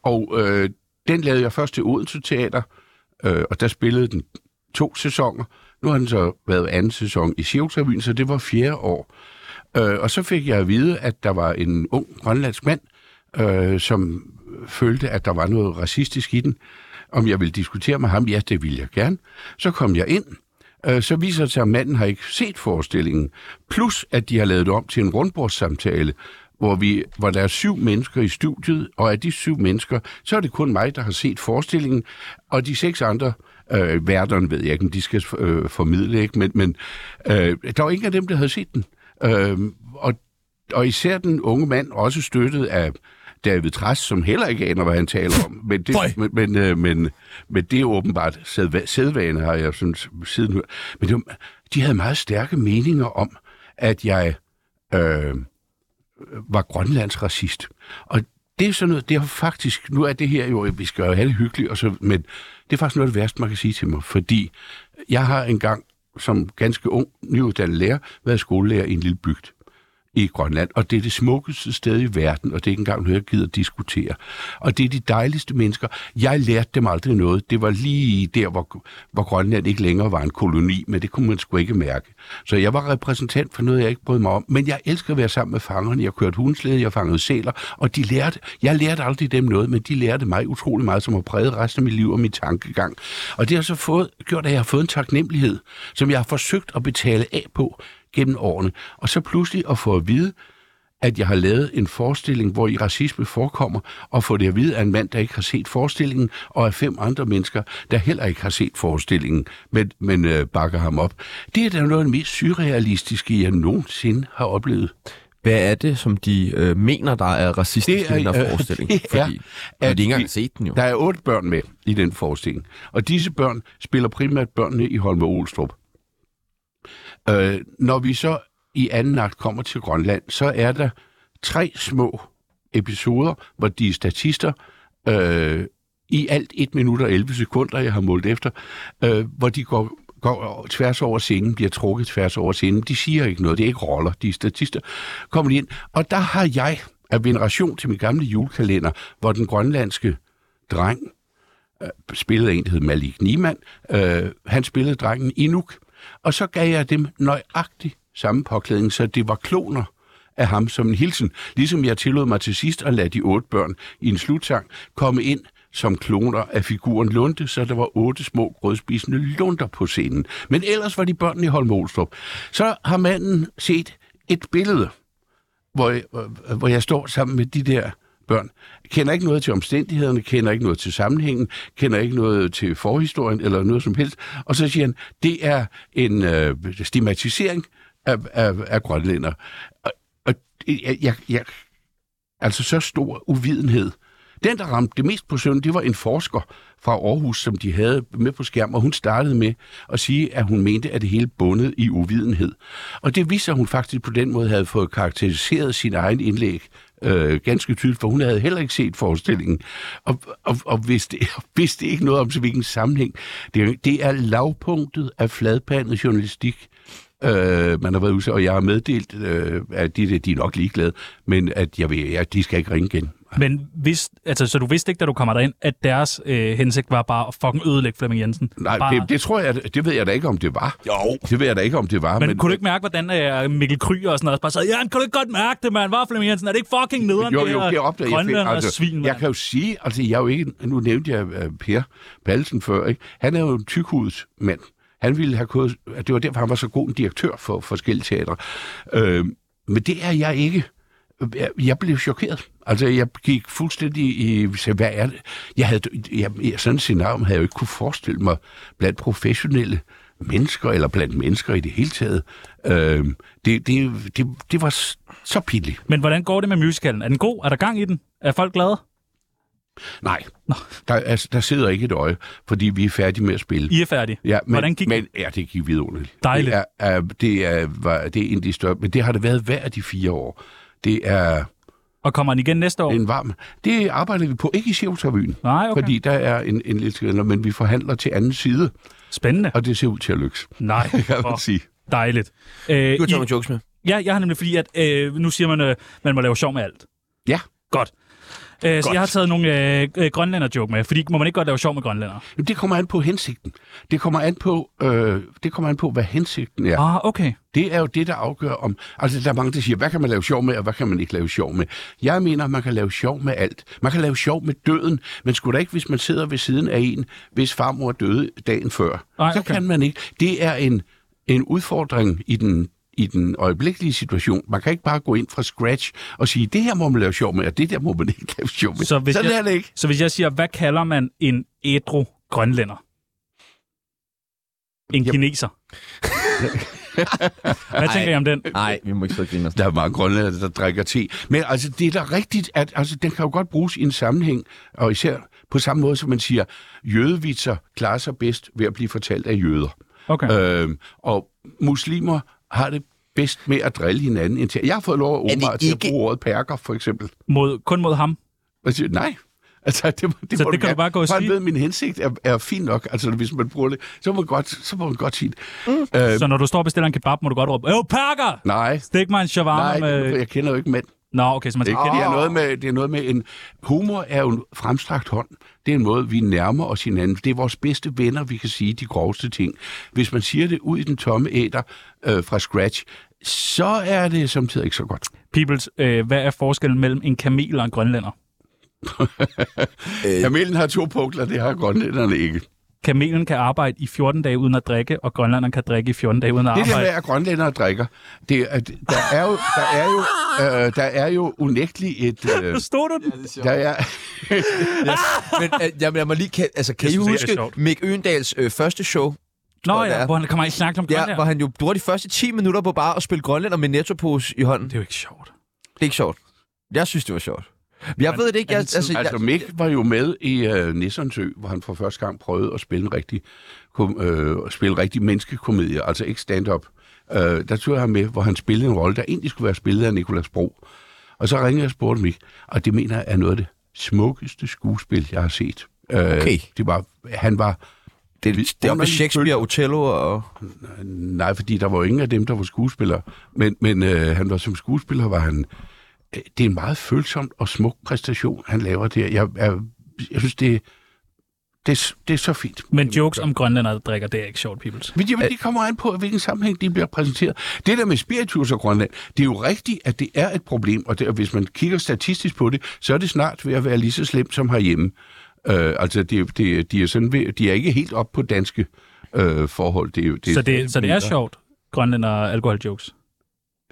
Speaker 4: Og øh, den lavede jeg først til Odense Teater, øh, og der spillede den to sæsoner. Nu har den så været anden sæson i Sjævnsrevyen, så det var fjerde år. Øh, og så fik jeg at vide, at der var en ung grønlandsk mand, øh, som følte, at der var noget racistisk i den. Om jeg ville diskutere med ham, ja, det ville jeg gerne. Så kom jeg ind. Øh, så viser det sig, at manden har ikke set forestillingen. Plus, at de har lavet det om til en rundbordssamtale, hvor, vi, hvor der er syv mennesker i studiet, og af de syv mennesker, så er det kun mig, der har set forestillingen, og de seks andre øh, værterne, ved jeg ikke, om de skal øh, formidle, ikke? men, men øh, der var ingen af dem, der havde set den. Øh, og, og især den unge mand, også støttet af David Træs, som heller ikke aner, hvad han taler om. Men det,
Speaker 1: Føj.
Speaker 4: men, men, øh, men, men det er åbenbart sædva- sædvane, har jeg synes, siden hørt. Men det var, de havde meget stærke meninger om, at jeg øh, var Grønlands racist. Og det er sådan noget, det har faktisk, nu er det her jo, vi skal jo have det hyggeligt, og så, men det er faktisk noget af det værste, man kan sige til mig, fordi jeg har engang som ganske ung, nyuddannet lærer, været skolelærer i en lille bygd i Grønland, og det er det smukkeste sted i verden, og det er ikke engang noget, jeg gider diskutere. Og det er de dejligste mennesker. Jeg lærte dem aldrig noget. Det var lige der, hvor, hvor Grønland ikke længere var en koloni, men det kunne man sgu ikke mærke. Så jeg var repræsentant for noget, jeg ikke brød mig om, men jeg elsker at være sammen med fangerne. Jeg kørte hundslede, jeg fangede sæler, og de lærte, jeg lærte aldrig dem noget, men de lærte mig utrolig meget, som har præget resten af mit liv og min tankegang. Og det har så fået, gjort, at jeg har fået en taknemmelighed, som jeg har forsøgt at betale af på gennem årene. Og så pludselig at få at vide, at jeg har lavet en forestilling, hvor i racisme forekommer, og få det at vide af en mand, der ikke har set forestillingen, og af fem andre mennesker, der heller ikke har set forestillingen, men, men øh, bakker ham op. Det er da noget af det mest surrealistiske, jeg nogensinde har oplevet.
Speaker 1: Hvad er det, som de øh, mener, der er racistisk
Speaker 4: Det er,
Speaker 1: i den her
Speaker 4: øh,
Speaker 1: forestilling?
Speaker 4: det er,
Speaker 1: Fordi
Speaker 4: at
Speaker 1: de har ikke
Speaker 4: de-
Speaker 1: engang set den jo.
Speaker 4: Der er otte børn med i den forestilling, og disse børn spiller primært børnene i Holme Olstrup. Øh, når vi så i anden nagt kommer til Grønland, så er der tre små episoder, hvor de er statister, øh, i alt 1 minut og 11 sekunder, jeg har målt efter, øh, hvor de går, går tværs over scenen, bliver trukket tværs over scenen. De siger ikke noget, det er ikke roller, de er statister. Kommer de ind, og der har jeg af veneration til min gamle julekalender, hvor den grønlandske dreng øh, spillede en, der hed Malik Niemann, øh, han spillede drengen Inuk, og så gav jeg dem nøjagtig samme påklædning, så det var kloner af ham som en hilsen. Ligesom jeg tillod mig til sidst at lade de otte børn i en slutsang komme ind som kloner af figuren Lunde, så der var otte små grødspisende lunder på scenen. Men ellers var de børnene i Holm Olstrup. Så har manden set et billede, hvor jeg, hvor- hvor jeg står sammen med de der børn. Kender ikke noget til omstændighederne, kender ikke noget til sammenhængen, kender ikke noget til forhistorien eller noget som helst. Og så siger han, det er en øh, stigmatisering af, af, af grønlænder. Og, og det- jeg, jeg, jeg, altså så stor uvidenhed. Den, der ramte det mest på søvn, det var en forsker fra Aarhus, som de havde med på skærm, og hun startede med at sige, at hun mente, at det hele bundet i uvidenhed. Og det viste sig, at hun faktisk på den måde havde fået karakteriseret sin egen indlæg øh, ganske tydeligt, for hun havde heller ikke set forestillingen, og, og, og vidste, og vidste ikke noget om, så hvilken sammenhæng. Det, er- det er lavpunktet af fladpandet journalistik, Øh, man har været udsat, og jeg har meddelt, øh, at de, de er nok ligeglade, men at jeg ved, at de skal ikke ringe igen.
Speaker 2: Men hvis, altså, så du vidste ikke, da du kommer derind, at deres øh, hensigt var bare at fucking ødelægge Flemming Jensen?
Speaker 4: Nej,
Speaker 2: bare...
Speaker 4: det, det, tror jeg, det ved jeg da ikke, om det var. Jo. Det ved jeg da ikke, om det var.
Speaker 2: Men, men kunne du ikke mærke, hvordan øh, Mikkel Kryger og sådan noget bare sagde, ja, kan du ikke godt mærke det, mand? Var Flemming Jensen? Er det ikke fucking nederen,
Speaker 4: jo,
Speaker 2: det
Speaker 4: jo,
Speaker 2: her
Speaker 4: det opdager jeg.
Speaker 2: Grønland
Speaker 4: fik- altså,
Speaker 2: og svin,
Speaker 4: jeg
Speaker 2: mand?
Speaker 4: kan jo sige, altså jeg er jo ikke, nu nævnte jeg øh, Per Balsen før, ikke? han er jo en tykhudet mand. Han ville have kunnet, det var derfor, han var så god en direktør for forskellige teatre. Øh, men det er jeg ikke. Jeg- Jeg blev chokeret. Altså, jeg gik fuldstændig i... Så hvad er det? Jeg havde, jeg, jeg, sådan et scenarie havde jeg jo ikke kunne forestille mig blandt professionelle mennesker, eller blandt mennesker i det hele taget. Øh, det, det, det, det var s- så pinligt.
Speaker 2: Men hvordan går det med musicalen? Er den god? Er der gang i den? Er folk glade?
Speaker 4: Nej, der, altså, der sidder ikke et øje, fordi vi er færdige med at spille.
Speaker 2: I er færdige.
Speaker 4: Ja, men,
Speaker 2: Hvordan gik
Speaker 4: men ja, det gik vidunderligt.
Speaker 2: Dejligt.
Speaker 4: Det er, er, det er, var, det er en af de større, men det har det været hver af de fire år. Det er
Speaker 2: Og kommer den igen næste år?
Speaker 4: en varm... Det arbejder vi på, ikke i Sjævnsrevyen,
Speaker 2: Nej, okay.
Speaker 4: fordi der er en, en lille skænder, men vi forhandler til anden side,
Speaker 2: Spændende.
Speaker 4: og det ser ud til at lykkes,
Speaker 2: Nej,
Speaker 4: kan man
Speaker 2: hvor
Speaker 4: sige.
Speaker 2: dejligt.
Speaker 1: Du
Speaker 2: Øh,
Speaker 1: har
Speaker 2: I-
Speaker 1: taget nogle jokes med.
Speaker 2: Ja, jeg har nemlig fordi, at øh, nu siger man, øh, man må lave sjov med alt.
Speaker 4: Ja.
Speaker 2: Godt. Øh, så
Speaker 4: Godt.
Speaker 2: jeg har taget nogle øh, øh, grønlænder-joke med, fordi må man ikke godt lave sjov med grønlænder?
Speaker 4: Jamen, det kommer an på hensigten. Det kommer an på, øh, det kommer an på hvad hensigten er.
Speaker 2: Ah, okay.
Speaker 4: Det er jo det, der afgør om... Altså, der er mange, der siger, hvad kan man lave sjov med, og hvad kan man ikke lave sjov med? Jeg mener, man kan lave sjov med alt. Man kan lave sjov med døden, men skulle da ikke, hvis man sidder ved siden af en, hvis farmor døde dagen før.
Speaker 2: Ej,
Speaker 4: Så
Speaker 2: okay.
Speaker 4: kan man ikke. Det er en, en udfordring i den i den øjeblikkelige situation. Man kan ikke bare gå ind fra scratch og sige, det her må man lave sjov med, og det der må man ikke lave sjov med.
Speaker 2: Så hvis
Speaker 4: Sådan
Speaker 2: jeg-
Speaker 4: er det ikke.
Speaker 2: Så hvis jeg siger, hvad kalder man en ædru grønlænder? En
Speaker 4: Jamen.
Speaker 2: kineser. Hvad tænker I om den?
Speaker 1: Nej, vi må ikke sidde og grine os.
Speaker 4: Der er mange grønlænder, der drikker te. Men altså, det er da rigtigt, at altså, den kan jo godt bruges i en sammenhæng, og især på samme måde, som man siger, jødevitser klarer sig bedst ved at blive fortalt af jøder.
Speaker 2: Okay.
Speaker 4: Øh, og muslimer har det bedst med at drille hinanden. Indtil. Jeg har fået lov af
Speaker 1: Er det
Speaker 4: Omar til at
Speaker 1: ikke-
Speaker 4: bruge ordet perker, for eksempel.
Speaker 2: Mod, kun mod ham?
Speaker 4: Og siger, nej, altså, det, må- det
Speaker 2: Så
Speaker 4: må
Speaker 2: det kan du
Speaker 4: gerne.
Speaker 2: bare gå og
Speaker 4: For han
Speaker 2: sige?
Speaker 4: ved, at min hensigt er, er fin nok. Altså, hvis man bruger det, så må man godt, så må man godt sige det. Mm. Øh,
Speaker 2: Så når du står og bestiller en kebab, må du godt råbe, Øv, pakker!
Speaker 4: nej,
Speaker 2: Stik mig en
Speaker 4: nej,
Speaker 2: shawarma med...
Speaker 4: jeg kender jo ikke mænd.
Speaker 2: Nå, okay, så man skal
Speaker 4: Ikke?
Speaker 2: kende
Speaker 4: Det, er noget med, det er noget med en... Humor er jo en fremstrakt hånd. Det er en måde, vi nærmer os hinanden. Det er vores bedste venner, vi kan sige de groveste ting. Hvis man siger det ud i den tomme æder øh, fra scratch, så er det samtidig ikke så godt.
Speaker 2: Peoples, øh, hvad er forskellen mellem en kamel og en grønlænder?
Speaker 4: Øh. Kamelen har to pukler, det har grønlænderne ikke.
Speaker 2: Kamelen kan arbejde i 14 dage uden at drikke, og grønlænderen kan drikke i 14 dage uden at
Speaker 4: Det der med,
Speaker 2: arbejde.
Speaker 4: at grønlændere drikker, det er, at der er jo, der er jo, øh, der er jo unægteligt et... Øh,
Speaker 2: Nu stod du den.
Speaker 4: der er,
Speaker 1: Men øh, jamen, lad mig lige... Kan, altså, kan
Speaker 2: Jeg
Speaker 1: I
Speaker 2: synes, det er
Speaker 1: huske
Speaker 2: sjovt.
Speaker 1: Mick Øendals øh, første show?
Speaker 2: Nå
Speaker 1: tror jeg, det
Speaker 2: ja,
Speaker 1: er.
Speaker 2: hvor han kommer i snak om
Speaker 1: Ja, hvor
Speaker 2: grønlænder.
Speaker 1: han jo bruger de første 10 minutter på bare at spille grønlænder med nettopose i hånden.
Speaker 2: Det er jo ikke sjovt.
Speaker 1: Det er ikke sjovt. Jeg synes, det var sjovt. Jeg ved det ikke. Jeg,
Speaker 2: anden tid-
Speaker 1: altså, jeg,
Speaker 4: Altså, Mick var jo med i øh, Nissonsø, hvor han for første gang prøvede at spille en rigtig, kom, øh, at spille en rigtig menneskekomedie, altså ikke stand-up. Øh, der tog jeg ham med, hvor han spillede en rolle, der egentlig skulle være spillet af Nikolas Bro. Og så ringede jeg og spurgte Mick, og det mener jeg er noget af det smukkeste skuespil, jeg har set. Øh,
Speaker 1: Okay.
Speaker 4: Det var, han var...
Speaker 1: det, det er op med Shakespeare, Othello og...
Speaker 4: Nej, fordi der var jo ingen af dem, der var skuespillere. Men, men øh, han var som skuespiller, var han... Øh, det er en meget følsom og smuk præstation, han laver der. Jeg, jeg, jeg synes, det, det, er s- det er så fint.
Speaker 2: Men jokes om grønlænder, der drikker, det er ikke sjovt, Peoples.
Speaker 4: Men jamen, det kommer an på, i hvilken sammenhæng de bliver præsenteret. Det der med spiritus og Grønland, det er jo rigtigt, at det er et problem, og, det, og hvis man kigger statistisk på det, så er det snart ved at være lige så slemt som herhjemme. Øh, altså, det, det, de, er sådan ved, de er ikke helt op på danske øh, forhold. Det, er jo- det,
Speaker 2: Så det, så det er
Speaker 4: mindre.
Speaker 2: sjovt, grønlænder og alkohol jokes.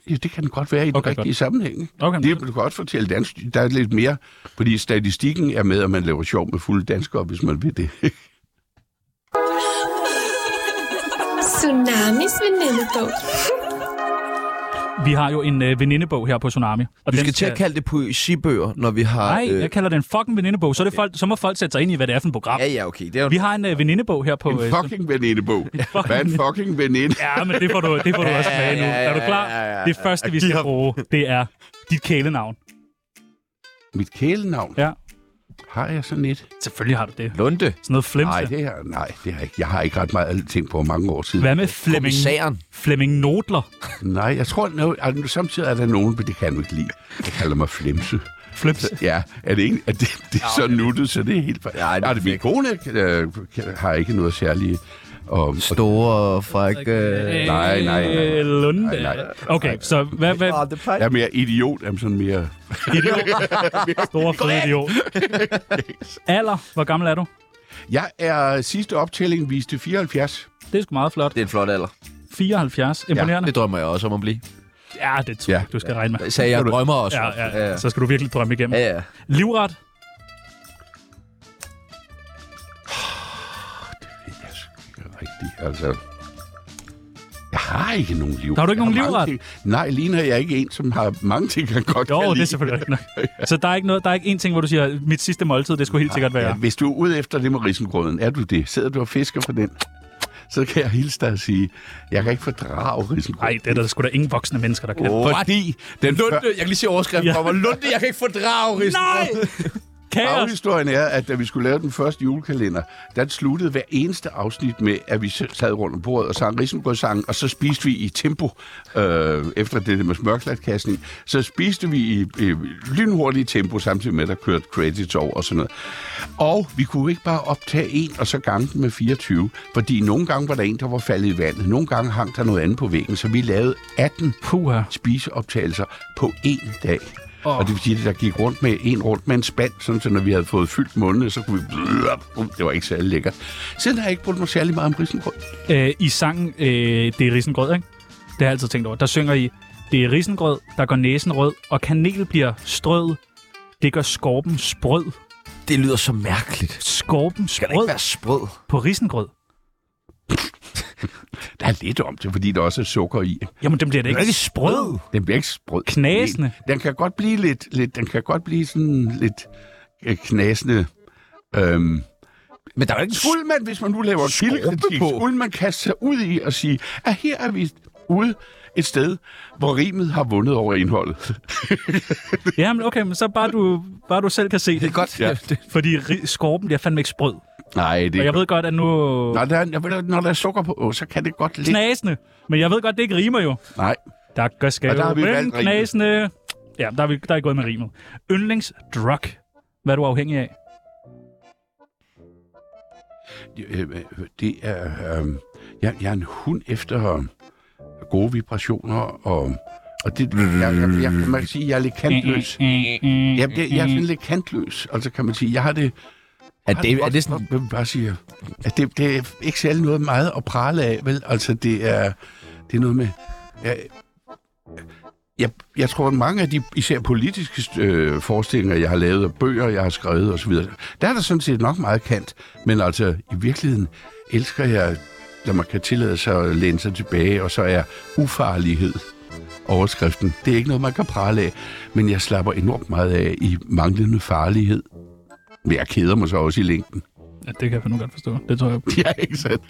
Speaker 4: Ja, det kan godt være i den okay,
Speaker 2: Okay,
Speaker 4: rigtige
Speaker 2: godt.
Speaker 4: godt. sammenhæng. ikke?
Speaker 2: Okay,
Speaker 4: Det vil du godt fortælle dansk. Der er lidt mere, fordi statistikken er med, at man laver sjov med fulde danskere, hvis man vil det.
Speaker 7: Tsunamis venindebog.
Speaker 2: vi har jo en øh, venindebog her på Tsunami. Og
Speaker 1: Du
Speaker 2: den
Speaker 1: skal til at kalde øh- det poesibøger, når vi har...
Speaker 2: Nej, jeg kalder den fucking venindebog. Så, er det folk, så må folk sætte sig ind i, hvad det er for et program.
Speaker 1: Ja, ja, okay. Det er jo...
Speaker 2: Vi har en øh, venindebog her på... øh,
Speaker 4: en fucking venindebog. Hvad er en fucking veninde?
Speaker 2: Ja, men det får du, det får du også med nu.
Speaker 1: ja,
Speaker 2: Er du
Speaker 1: ja,
Speaker 2: klar?
Speaker 1: ja, ja, ja.
Speaker 2: Det første, vi skal bruge, det er dit kælenavn.
Speaker 4: Mit kælenavn,
Speaker 2: Ja,
Speaker 4: har jeg sådan et?
Speaker 2: selvfølgelig har du det.
Speaker 1: Lunde.
Speaker 2: Sådan noget
Speaker 4: Nej,
Speaker 2: flimse.
Speaker 4: det har nej, det har jeg ikke. Jeg har ikke ret meget ting på mange år siden.
Speaker 2: Hvad med Flemming,
Speaker 1: Kommissæren.
Speaker 2: Flemming Nodler?
Speaker 4: Nej, jeg tror, no, altså, samtidig er der nogen, men det kan du ikke lide. Jeg kalder mig flimse.
Speaker 2: Flips.
Speaker 4: Ja, er det ikke? Er det, det er så nuttet, så det er helt... Ja, det er det min kone øh, har ikke noget særligt. Og, og
Speaker 1: Store, frække...
Speaker 4: Øh, nej, nej, nej.
Speaker 2: Øh, Lunde.
Speaker 4: Nej, nej.
Speaker 2: Okay, så hvad, hvad
Speaker 4: jeg er mere idiot, jeg er sådan mere...
Speaker 2: store fede idiot. Alder, hvor gammel er du?
Speaker 4: Jeg er sidste optælling viste 74.
Speaker 2: Det er sgu meget flot.
Speaker 1: Det er en flot alder.
Speaker 2: 74. Imponerende.
Speaker 1: Det drømmer jeg også om at blive.
Speaker 2: Ja, det tror jeg,
Speaker 4: Ja.
Speaker 2: ikke, du skal regne med.
Speaker 1: Det sagde jeg, jeg drømmer også.
Speaker 2: Ja,
Speaker 1: om.
Speaker 2: ja, ja. Så skal du virkelig drømme igennem.
Speaker 1: ja, ja.
Speaker 2: Livret?
Speaker 4: Yes, rigtigt, altså. Ja, har ikke nogen liv.
Speaker 2: Der har du ikke
Speaker 4: Jeg
Speaker 2: nogen
Speaker 4: mange
Speaker 2: livret?
Speaker 4: ting- Nej, ligner jeg ikke en, som har mange ting, han godt
Speaker 2: Jo,
Speaker 4: kan
Speaker 2: det er
Speaker 4: lide.
Speaker 2: selvfølgelig rigtigt nok. Så der er ikke noget, der er ikke en ting, hvor du siger, mit sidste måltid, det skulle helt sikkert
Speaker 4: Ja,
Speaker 2: være.
Speaker 4: hvis du er ude efter det med risengrøden, er du det? Sidder du og fisker på den? Så kan jeg hilse dig og sige, jeg kan ikke fordrage risengrøden.
Speaker 2: Nej, det er der sgu da ingen voksne mennesker, der kan. Oh.
Speaker 4: Fordi den før-
Speaker 1: Lunde, jeg kan lige se overskriften
Speaker 2: Ja.
Speaker 1: for mig. Lunde, jeg kan ikke fordrage risen.
Speaker 2: Nej! Kaos!
Speaker 4: Baghistorien er, at da vi skulle lave den første julekalender, der sluttede hver eneste afsnit med, at vi sad rundt om bordet og sang risengrødssangen, og så spiste vi i tempo, øh, efter det der med smørklatkastning, så spiste vi i, i lynhurtigt tempo, samtidig med, at der kørte credits over og sådan noget. Og vi kunne ikke bare optage en, og så gange den med 24, fordi nogle gange var der en, der var faldet i vandet, nogle gange hang der noget andet på væggen, så vi lavede 18
Speaker 2: Puha.
Speaker 4: spiseoptagelser på én dag. Oh. Og det vil sige, at der gik rundt med en rundt med en spand, sådan så når vi havde fået fyldt mundene, så kunne vi... Det var ikke særlig lækkert. Siden har jeg ikke brugt mig særlig meget om risengrød.
Speaker 2: Øh, I sangen, øh, det er risengrød, ikke? Det har jeg altid tænkt over. Der synger I, det er risengrød, der går næsen rød, og kanel bliver strøget. Det gør skorpen sprød.
Speaker 1: Det lyder så mærkeligt.
Speaker 2: Skorpen
Speaker 1: Skal det ikke
Speaker 2: sprød
Speaker 1: være sprød?
Speaker 2: på risengrød.
Speaker 4: Der er lidt om det, fordi der også er sukker i.
Speaker 2: Jamen, den bliver da ikke,
Speaker 1: ikke
Speaker 2: sprød.
Speaker 4: Den bliver ikke sprød.
Speaker 2: Knasende.
Speaker 4: Den kan godt blive lidt... lidt den kan godt blive sådan lidt øh, knasende... Øhm,
Speaker 1: Men der er jo ikke en
Speaker 4: skulle man, hvis man nu laver
Speaker 1: Skorpe
Speaker 4: kildekritik,
Speaker 1: på.
Speaker 4: skulle man kaste sig ud i og sige, at her er vi ude et sted, hvor rimet har vundet over indholdet.
Speaker 2: Jamen, okay, men så bare du, bare du selv kan se
Speaker 1: Det
Speaker 2: det.
Speaker 1: er godt. Ja.
Speaker 2: Fordi ri- skorpen bliver fandme ikke sprød.
Speaker 4: Nej, det
Speaker 2: Og jeg ved godt, at nu...
Speaker 4: Når der, er- når der- når der er sukker på, åh, så kan det godt lidt...
Speaker 2: Knasende. Men jeg ved godt, det ikke rimer jo.
Speaker 4: Nej.
Speaker 2: Der gør skal
Speaker 4: Og der har vi
Speaker 2: jo
Speaker 4: valgt
Speaker 2: en
Speaker 4: rimet.
Speaker 2: knasende... Ja, der er, vi, der er I gået med rimet. Yndlingsdrug. Hvad er du afhængig af?
Speaker 4: Øh, øh, Det er... Øh, jeg, jeg er en hund efter gode vibrationer, og, og det, jeg, jeg, jeg, man kan sige, jeg er lidt kantløs. Jeg, jeg, jeg er sådan lidt kantløs, altså kan man sige. Jeg har det...
Speaker 1: Er
Speaker 4: har
Speaker 1: det,
Speaker 4: godt
Speaker 1: er det
Speaker 4: nok
Speaker 1: sådan...
Speaker 4: med bare siger, at det, det er ikke særlig noget meget at prale af, vel? Altså, det er, det er noget med... Jeg, jeg, jeg tror, at mange af de især politiske øh, forestillinger, jeg har lavet, og bøger, jeg har skrevet osv., der er der sådan set nok meget kant. Men altså, i virkeligheden elsker jeg, når man kan tillade sig at læne sig tilbage, og så er ufarlighed overskriften. Det er ikke noget, man kan prale af, men jeg slapper enormt meget af i manglende farlighed. Men jeg keder mig så også i længden.
Speaker 2: Ja, det kan jeg fandme godt forstå. Det tror jeg.
Speaker 4: Ja, ikke sandt?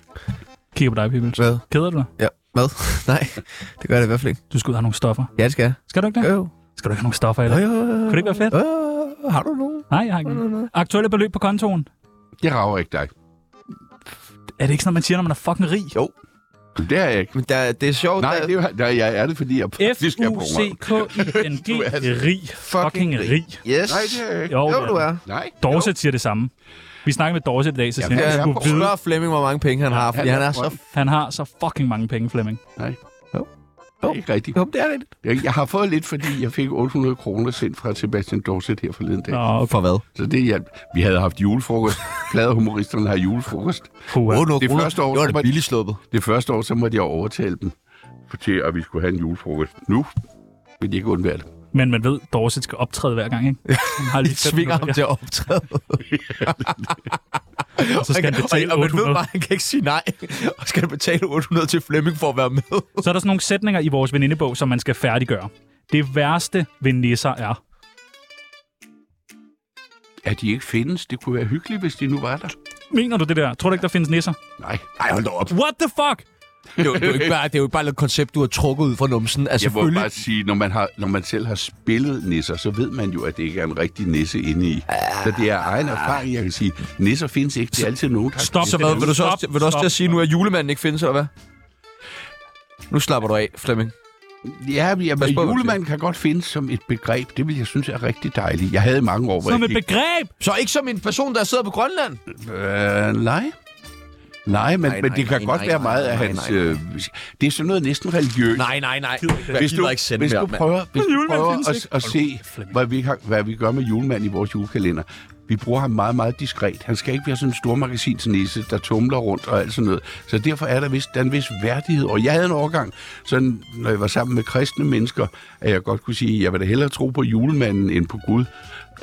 Speaker 2: Kigger på dig, Pibels.
Speaker 1: Hvad?
Speaker 2: Keder du dig?
Speaker 1: Ja, hvad? Nej, det gør det i hvert fald ikke.
Speaker 2: Du skal ud og have nogle stoffer.
Speaker 1: Ja, det skal jeg.
Speaker 2: Skal du ikke det?
Speaker 1: Jo, jo.
Speaker 2: Skal du ikke have nogle stoffer, eller?
Speaker 1: Jo, jo, jo.
Speaker 2: Kunne det ikke være fedt?
Speaker 1: Jo, jo. Har du nogen?
Speaker 2: Nej, jeg har ikke. Aktuelle beløb på kontoen.
Speaker 4: Det rager ikke dig.
Speaker 2: Er det ikke sådan, at man siger, når man er fucking rig?
Speaker 4: Jo. Det er jeg ikke.
Speaker 1: Men der, det er sjovt.
Speaker 4: Nej,
Speaker 1: der,
Speaker 4: det er, jo- nej, jeg er det, fordi jeg faktisk er brugeren.
Speaker 2: F-U-C-K-I-N-G.
Speaker 4: Du er
Speaker 2: Rig. Fucking rig.
Speaker 1: Yes.
Speaker 4: Nej, det er jeg ikke.
Speaker 2: Jo,
Speaker 1: Jo, du er.
Speaker 4: Nej.
Speaker 2: Dorset siger det samme. Vi snakker med Dorset i dag, så siger
Speaker 4: Jamen,
Speaker 2: han,
Speaker 4: ja,
Speaker 2: at
Speaker 4: ja.
Speaker 2: han, skulle vide,
Speaker 1: Spørg Flemming, hvor mange penge han har, fordi
Speaker 4: han
Speaker 1: han
Speaker 4: er
Speaker 1: er så...
Speaker 2: han har så fucking mange penge, Flemming.
Speaker 4: Nej.
Speaker 1: Jo.
Speaker 4: Det er ikke rigtigt.
Speaker 1: Jo, det er rigtigt.
Speaker 4: Jeg, jeg har fået lidt, fordi jeg fik 800 kroner sendt fra Sebastian Dorset her forleden dag.
Speaker 2: Nå, okay.
Speaker 1: For hvad?
Speaker 4: Så det hjalp. Vi havde haft julefrokost. Pladehumoristerne har julefrokost.
Speaker 2: Puha.
Speaker 1: det
Speaker 4: kroner. første år,
Speaker 1: Det var
Speaker 4: så var
Speaker 1: det
Speaker 4: det-
Speaker 1: billigt sluppet.
Speaker 4: Det første år, så måtte jeg overtale dem til, at vi skulle have en julefrokost. Nu vil de ikke undvære det.
Speaker 2: Men man ved, Dorset skal optræde hver gang, ikke? Han har
Speaker 1: De
Speaker 2: lige
Speaker 1: tvinger ham
Speaker 2: 500,
Speaker 1: til at optræde.
Speaker 2: og så skal han betale
Speaker 1: og, og man ved
Speaker 2: 800.
Speaker 1: bare, han kan ikke sige nej. Og skal han betale 800 til Flemming for at være med.
Speaker 2: Så er der sådan nogle sætninger i vores venindebog, som man skal færdiggøre. Det værste ved nisser er...
Speaker 4: At de ikke findes, det kunne være hyggeligt, hvis de nu var der.
Speaker 2: Mener du det der? Tror du ikke, der findes nisser?
Speaker 4: Nej.
Speaker 1: Nej, hold da op.
Speaker 2: What the fuck?
Speaker 1: Det er jo, det er jo ikke bare, det er jo ikke bare et koncept, du har trukket ud fra numsen. Altså,
Speaker 4: Jeg må
Speaker 1: selvfølgelig.
Speaker 4: bare sige, når man, har, når man selv har spillet nisser, så ved man jo, at det ikke er en rigtig nisse inde i. Så det er egen erfaring, jeg kan sige. Nisser findes ikke. Det er altid nogen, der...
Speaker 2: Stop.
Speaker 1: Så hvad, vil du så også,
Speaker 2: Stop,
Speaker 1: vil du også til at
Speaker 2: stop.
Speaker 1: sige nu, at julemanden ikke findes, eller hvad? Nu slapper du af, Flemming.
Speaker 4: Ja, men jamen,
Speaker 1: Pas på, hvad du
Speaker 4: julemanden kan godt findes som et begreb. Det vil jeg synes er rigtig dejligt. Jeg havde i mange år, hvor
Speaker 2: Som
Speaker 4: jeg
Speaker 2: et begreb!
Speaker 1: Så ikke som en person, der sidder på Grønland?
Speaker 4: Øh, nej. Nej, men,
Speaker 1: Nej,
Speaker 4: men
Speaker 1: nej,
Speaker 4: det kan
Speaker 1: nej,
Speaker 4: godt
Speaker 1: nej,
Speaker 4: være
Speaker 1: nej,
Speaker 4: meget af
Speaker 1: nej,
Speaker 4: hans...
Speaker 1: nej, nej.
Speaker 4: Øh, det er sådan noget næsten religiøst.
Speaker 1: Nej, nej, nej. Jeg
Speaker 4: Hvis
Speaker 1: gider
Speaker 4: du,
Speaker 1: ikke sende
Speaker 4: hvis
Speaker 1: mere,
Speaker 4: du
Speaker 1: mand.
Speaker 4: prøver, hvis du
Speaker 2: Julemanden findes
Speaker 4: prøver at,
Speaker 2: ikke.
Speaker 4: at
Speaker 2: Hold
Speaker 4: se,
Speaker 2: nu kæft, Flemming.
Speaker 4: hvad vi, har, hvad vi gør med julemanden i vores julekalender. Vi bruger ham meget, meget diskret. Han skal ikke være sådan en stor magasinsnisse, der tumler rundt og alt sådan noget. Så derfor er der, vist, der er en vis værdighed. Og jeg havde en overgang, sådan, når jeg var sammen med kristne mennesker, at jeg godt kunne sige, at jeg vil da hellere tro på julemanden end på Gud.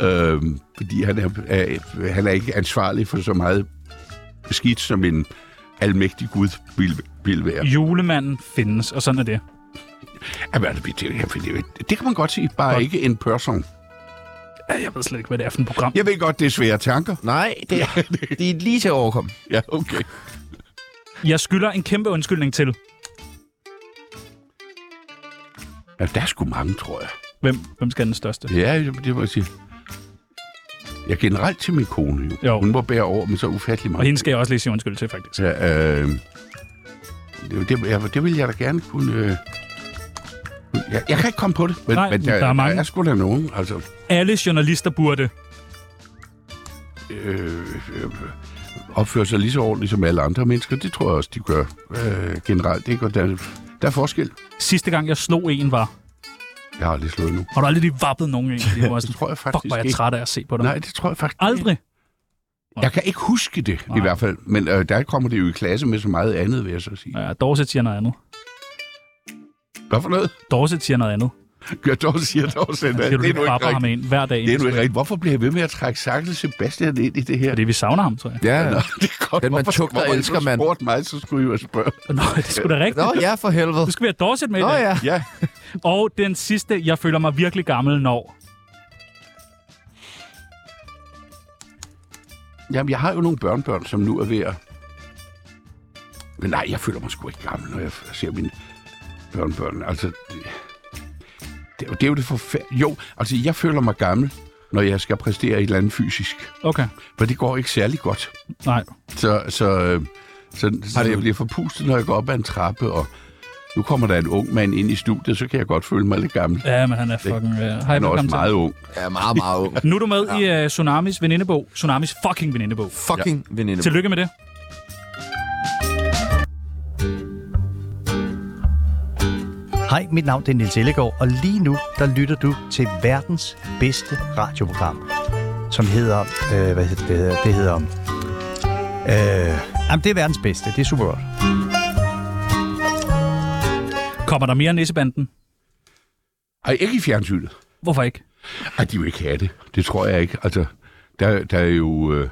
Speaker 4: Øhm, fordi han er, er, han er ikke ansvarlig for så meget skidt, som en almægtig Gud ville, ville være.
Speaker 2: Julemanden findes, og sådan er det.
Speaker 4: Jamen, altså, det, det, det kan man godt sige, bare
Speaker 2: Godt.
Speaker 4: ikke en person.
Speaker 2: Ja, Jeg ved slet ikke, hvad det er for et program.
Speaker 4: Jeg ved godt, det er svære tanker.
Speaker 1: Nej, det, det er lige til at overkomme.
Speaker 4: Ja, okay.
Speaker 2: Jeg skylder en kæmpe undskyldning til.
Speaker 4: Ja, der er sgu mange, tror jeg.
Speaker 2: Hvem, hvem skal den største?
Speaker 4: Ja, det må jeg sige. Ja, generelt til min kone jo.
Speaker 2: Jo.
Speaker 4: Hun må bære over med så ufattelig
Speaker 2: Og
Speaker 4: meget.
Speaker 2: hende skal jeg også lige sige undskyld til, faktisk.
Speaker 4: Ja, øh, det, det, ja, det ville jeg da gerne kunne... Øh, jeg, jeg kan ikke komme på det, men,
Speaker 2: Nej,
Speaker 4: men
Speaker 2: der er mange.
Speaker 4: Der er sgu da nogen, altså...
Speaker 2: Alle journalister burde.
Speaker 4: Øh, øh, opfører sig lige så ordentligt som alle andre mennesker. Det tror jeg også, de gør øh, generelt. Ikke? Og der, der er forskel.
Speaker 2: Sidste gang, jeg slog en, var...
Speaker 4: Jeg har aldrig slået nu.
Speaker 2: Har du aldrig lige vappet nogen en? Det var
Speaker 4: Det
Speaker 2: sådan,
Speaker 4: tror jeg faktisk
Speaker 2: fuck, var jeg
Speaker 4: ikke.
Speaker 2: træt af at se på dig.
Speaker 4: Nej, det tror jeg faktisk
Speaker 2: Aldrig.
Speaker 4: Jeg kan ikke huske det, Nej. i hvert fald. Men øh, der kommer det jo i klasse med så meget andet, vil jeg så sige.
Speaker 2: Ja, Dorset siger noget andet.
Speaker 4: Hvad for noget?
Speaker 2: Dorset siger noget andet.
Speaker 4: Gør dog, siger dog, siger,
Speaker 2: Siger du
Speaker 4: det er
Speaker 2: lige
Speaker 4: nu ikke
Speaker 2: vapper ham
Speaker 4: rigtigt.
Speaker 2: en hver dag?
Speaker 4: Det er
Speaker 2: inden
Speaker 4: nu
Speaker 2: du
Speaker 4: ikke rigtigt. Hvorfor bliver jeg ved med at trække Saxel Sebastian ind i det her?
Speaker 2: Fordi vi savner ham, tror jeg.
Speaker 1: Ja,
Speaker 4: Nå, det er godt.
Speaker 1: Den, man
Speaker 4: Hvorfor-
Speaker 1: tugter,
Speaker 4: hvorfor har I
Speaker 1: elsker
Speaker 4: så
Speaker 1: man.
Speaker 4: spurgt mig, så skulle I jo spørge.
Speaker 2: Nå, det skulle sgu da rigtigt.
Speaker 1: Nå ja, for helvede.
Speaker 2: Nu skal vi have Dorset med i
Speaker 1: Nå
Speaker 2: dag.
Speaker 1: ja.
Speaker 4: Ja,
Speaker 2: Og den sidste, jeg føler mig virkelig gammel, når...
Speaker 4: jamen jeg har jo nogle børnebørn, som nu er ved at... Men nej, jeg føler mig sgu ikke gammel, når jeg ser mine børnebørn. Altså, det, det, er jo- det er jo det forfærdelige. Jo, altså jeg føler mig gammel, når jeg skal præstere et eller andet fysisk.
Speaker 2: Okay,
Speaker 4: For det går ikke særlig godt.
Speaker 2: nej.
Speaker 4: Så, så, øh, så, så jeg bliver forpustet, når jeg går op ad en trappe, og nu kommer der en ung mand ind i studiet, så kan jeg godt føle mig lidt gammel.
Speaker 2: Ja, men han er fucking... Uh, hej,
Speaker 4: Han er også
Speaker 2: velkommen til.
Speaker 4: meget ung.
Speaker 1: Ja, meget, meget ung.
Speaker 2: Nu er du med i uh, Tsunamis venindebog. Tsunamis fucking venindebog.
Speaker 1: Fucking ja. veninde.
Speaker 2: Tillykke med det.
Speaker 7: Hej, mit navn det er Nils Ellegaard, og lige nu der lytter du til verdens bedste radioprogram, som hedder... Øh, hvad hedder det? hedder- Det hedder... Øh, jamen, det er verdens bedste. Det er super godt.
Speaker 2: Kommer der mere nissebanden?
Speaker 4: Ej, ikke i fjernsynet.
Speaker 2: Hvorfor ikke?
Speaker 4: Ej, de vil ikke have det. Det tror jeg ikke. Altså, der, der er jo... Øh,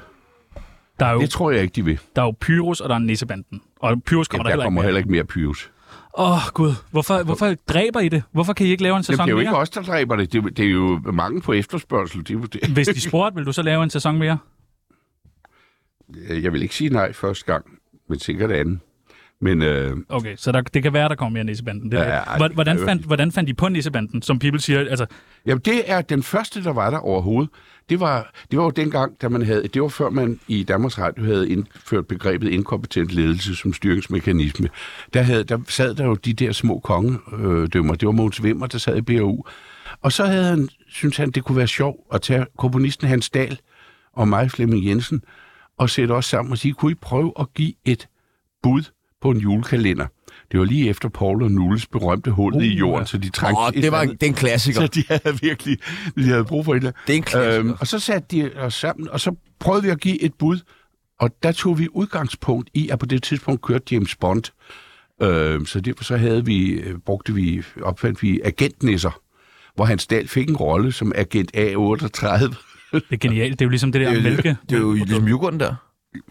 Speaker 2: Der er jo,
Speaker 4: det tror jeg ikke, de vil.
Speaker 2: der er jo Pyrus, og der er nissebanden. Og Pyrus kommer
Speaker 4: Jamen, der
Speaker 2: der
Speaker 4: kommer
Speaker 2: heller ikke
Speaker 4: heller ikke mere pyrus.
Speaker 2: Åh, oh, Gud. Hvorfor, hvorfor dræber I det? Hvorfor kan I ikke lave en
Speaker 4: Jamen,
Speaker 2: sæson
Speaker 4: det er jo
Speaker 2: mere?
Speaker 4: ikke os, der dræber det. Det, det er jo mange på efterspørgsel. Det, er jo det.
Speaker 2: Hvis de spurgte, vil du så lave en sæson mere?
Speaker 4: Jeg vil ikke sige nej første gang, men sikkert anden. Men øh,
Speaker 2: Okay, så der, det kan være, der kommer mere nissebanden. Det
Speaker 4: Ja,
Speaker 2: ja,
Speaker 4: ja, ej,
Speaker 2: ja,
Speaker 4: det
Speaker 2: hvordan,
Speaker 4: kan jeg
Speaker 2: fandt, hvordan fandt I på nissebanden, som people siger? Altså,
Speaker 4: Jamen, det er den første, der var der overhovedet. Det var, det var jo dengang, da man havde, det var før man i Danmarks Radio havde indført begrebet inkompetent ledelse som styringsmekanisme. Der, havde, der sad der jo de der små kongedømmer. Det var Mogens Vimmer, der sad i BAU. Og så havde han, synes han, det kunne være sjovt at tage komponisten Hans Dahl og mig, Flemming Jensen, og sætte os sammen og sige, kunne I prøve at give et bud på en julekalender? Det var lige efter Paul og Nulles berømte hul uh, i jorden, så de trak
Speaker 1: Åh, det var en, det er en klassiker.
Speaker 4: så de havde virkelig de havde brug for et eller andet. Øhm,
Speaker 1: Det er en klassiker.
Speaker 4: og så satte de os sammen, og så prøvede vi at give et bud. Og der tog vi udgangspunkt i, at på det tidspunkt kørte James Bond. Øhm, så derfor så havde vi, øh, brugte vi, opfandt vi agentnisser, hvor Hans Dahl fik en rolle som agent A38.
Speaker 2: det er genialt. Det er jo ligesom det der
Speaker 1: det, er jo,
Speaker 2: mælke.
Speaker 1: det er jo ligesom yoghurten der.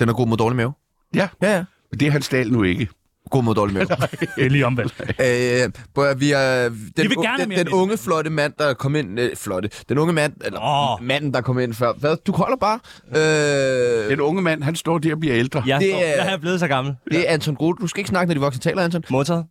Speaker 1: Den er god mod dårlig mave.
Speaker 4: ja,
Speaker 1: Ja, ja.
Speaker 4: men det er Hans Dahl nu ikke.
Speaker 1: God mod dårlig mave.
Speaker 2: Det er lige omvendt.
Speaker 1: Øh, prøv at- vi er, den,
Speaker 2: vil gerne
Speaker 1: den,
Speaker 2: mere
Speaker 1: den
Speaker 2: Disney.
Speaker 1: unge, flotte mand, der kom ind... Øh, flotte. Den unge mand, eller
Speaker 2: Åh.
Speaker 1: manden, der kom ind før. Hvad? Du holder bare. Øh,
Speaker 4: Den unge mand, han står der og bliver ældre.
Speaker 8: Jeg,
Speaker 1: Det
Speaker 8: det er...
Speaker 1: er-
Speaker 8: jeg er blevet så gammel.
Speaker 1: det er Anton Groth. Du skal ikke snakke, når de voksne taler, Anton.
Speaker 8: Motor.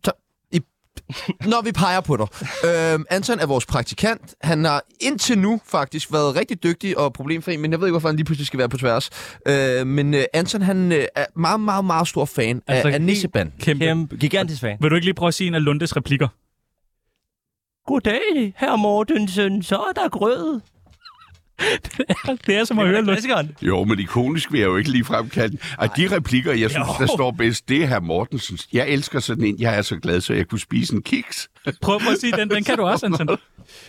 Speaker 1: Når vi peger på dig. Øhm, Anton er vores praktikant. Han har indtil nu faktisk været rigtig dygtig og problemfri, men jeg ved ikke, hvorfor han lige pludselig skal være på tværs. Øh, men øh, Anton, han øh, er meget, meget, meget stor fan altså,
Speaker 2: Altså,
Speaker 1: af, af Nisseband.
Speaker 2: Kæmpe. Kæmpe.
Speaker 8: Kæmpe, gigantisk fan.
Speaker 2: Vil du ikke lige prøve at sige en af Lundes replikker?
Speaker 8: Goddag, herr Mortensen. Så er der grød.
Speaker 2: Det er som at høre
Speaker 8: Det er
Speaker 2: Lunde.
Speaker 8: klassikeren.
Speaker 4: Jo, men ikonisk vil jeg jo ikke lige fremkalde. Og de replikker, jeg synes,
Speaker 2: Jo.
Speaker 4: der står bedst, det er herr Mortensens. Jeg elsker sådan en. Jeg er så glad, så jeg kunne spise en kiks.
Speaker 2: Prøv prøv at sige den. Den kan du også, Anton.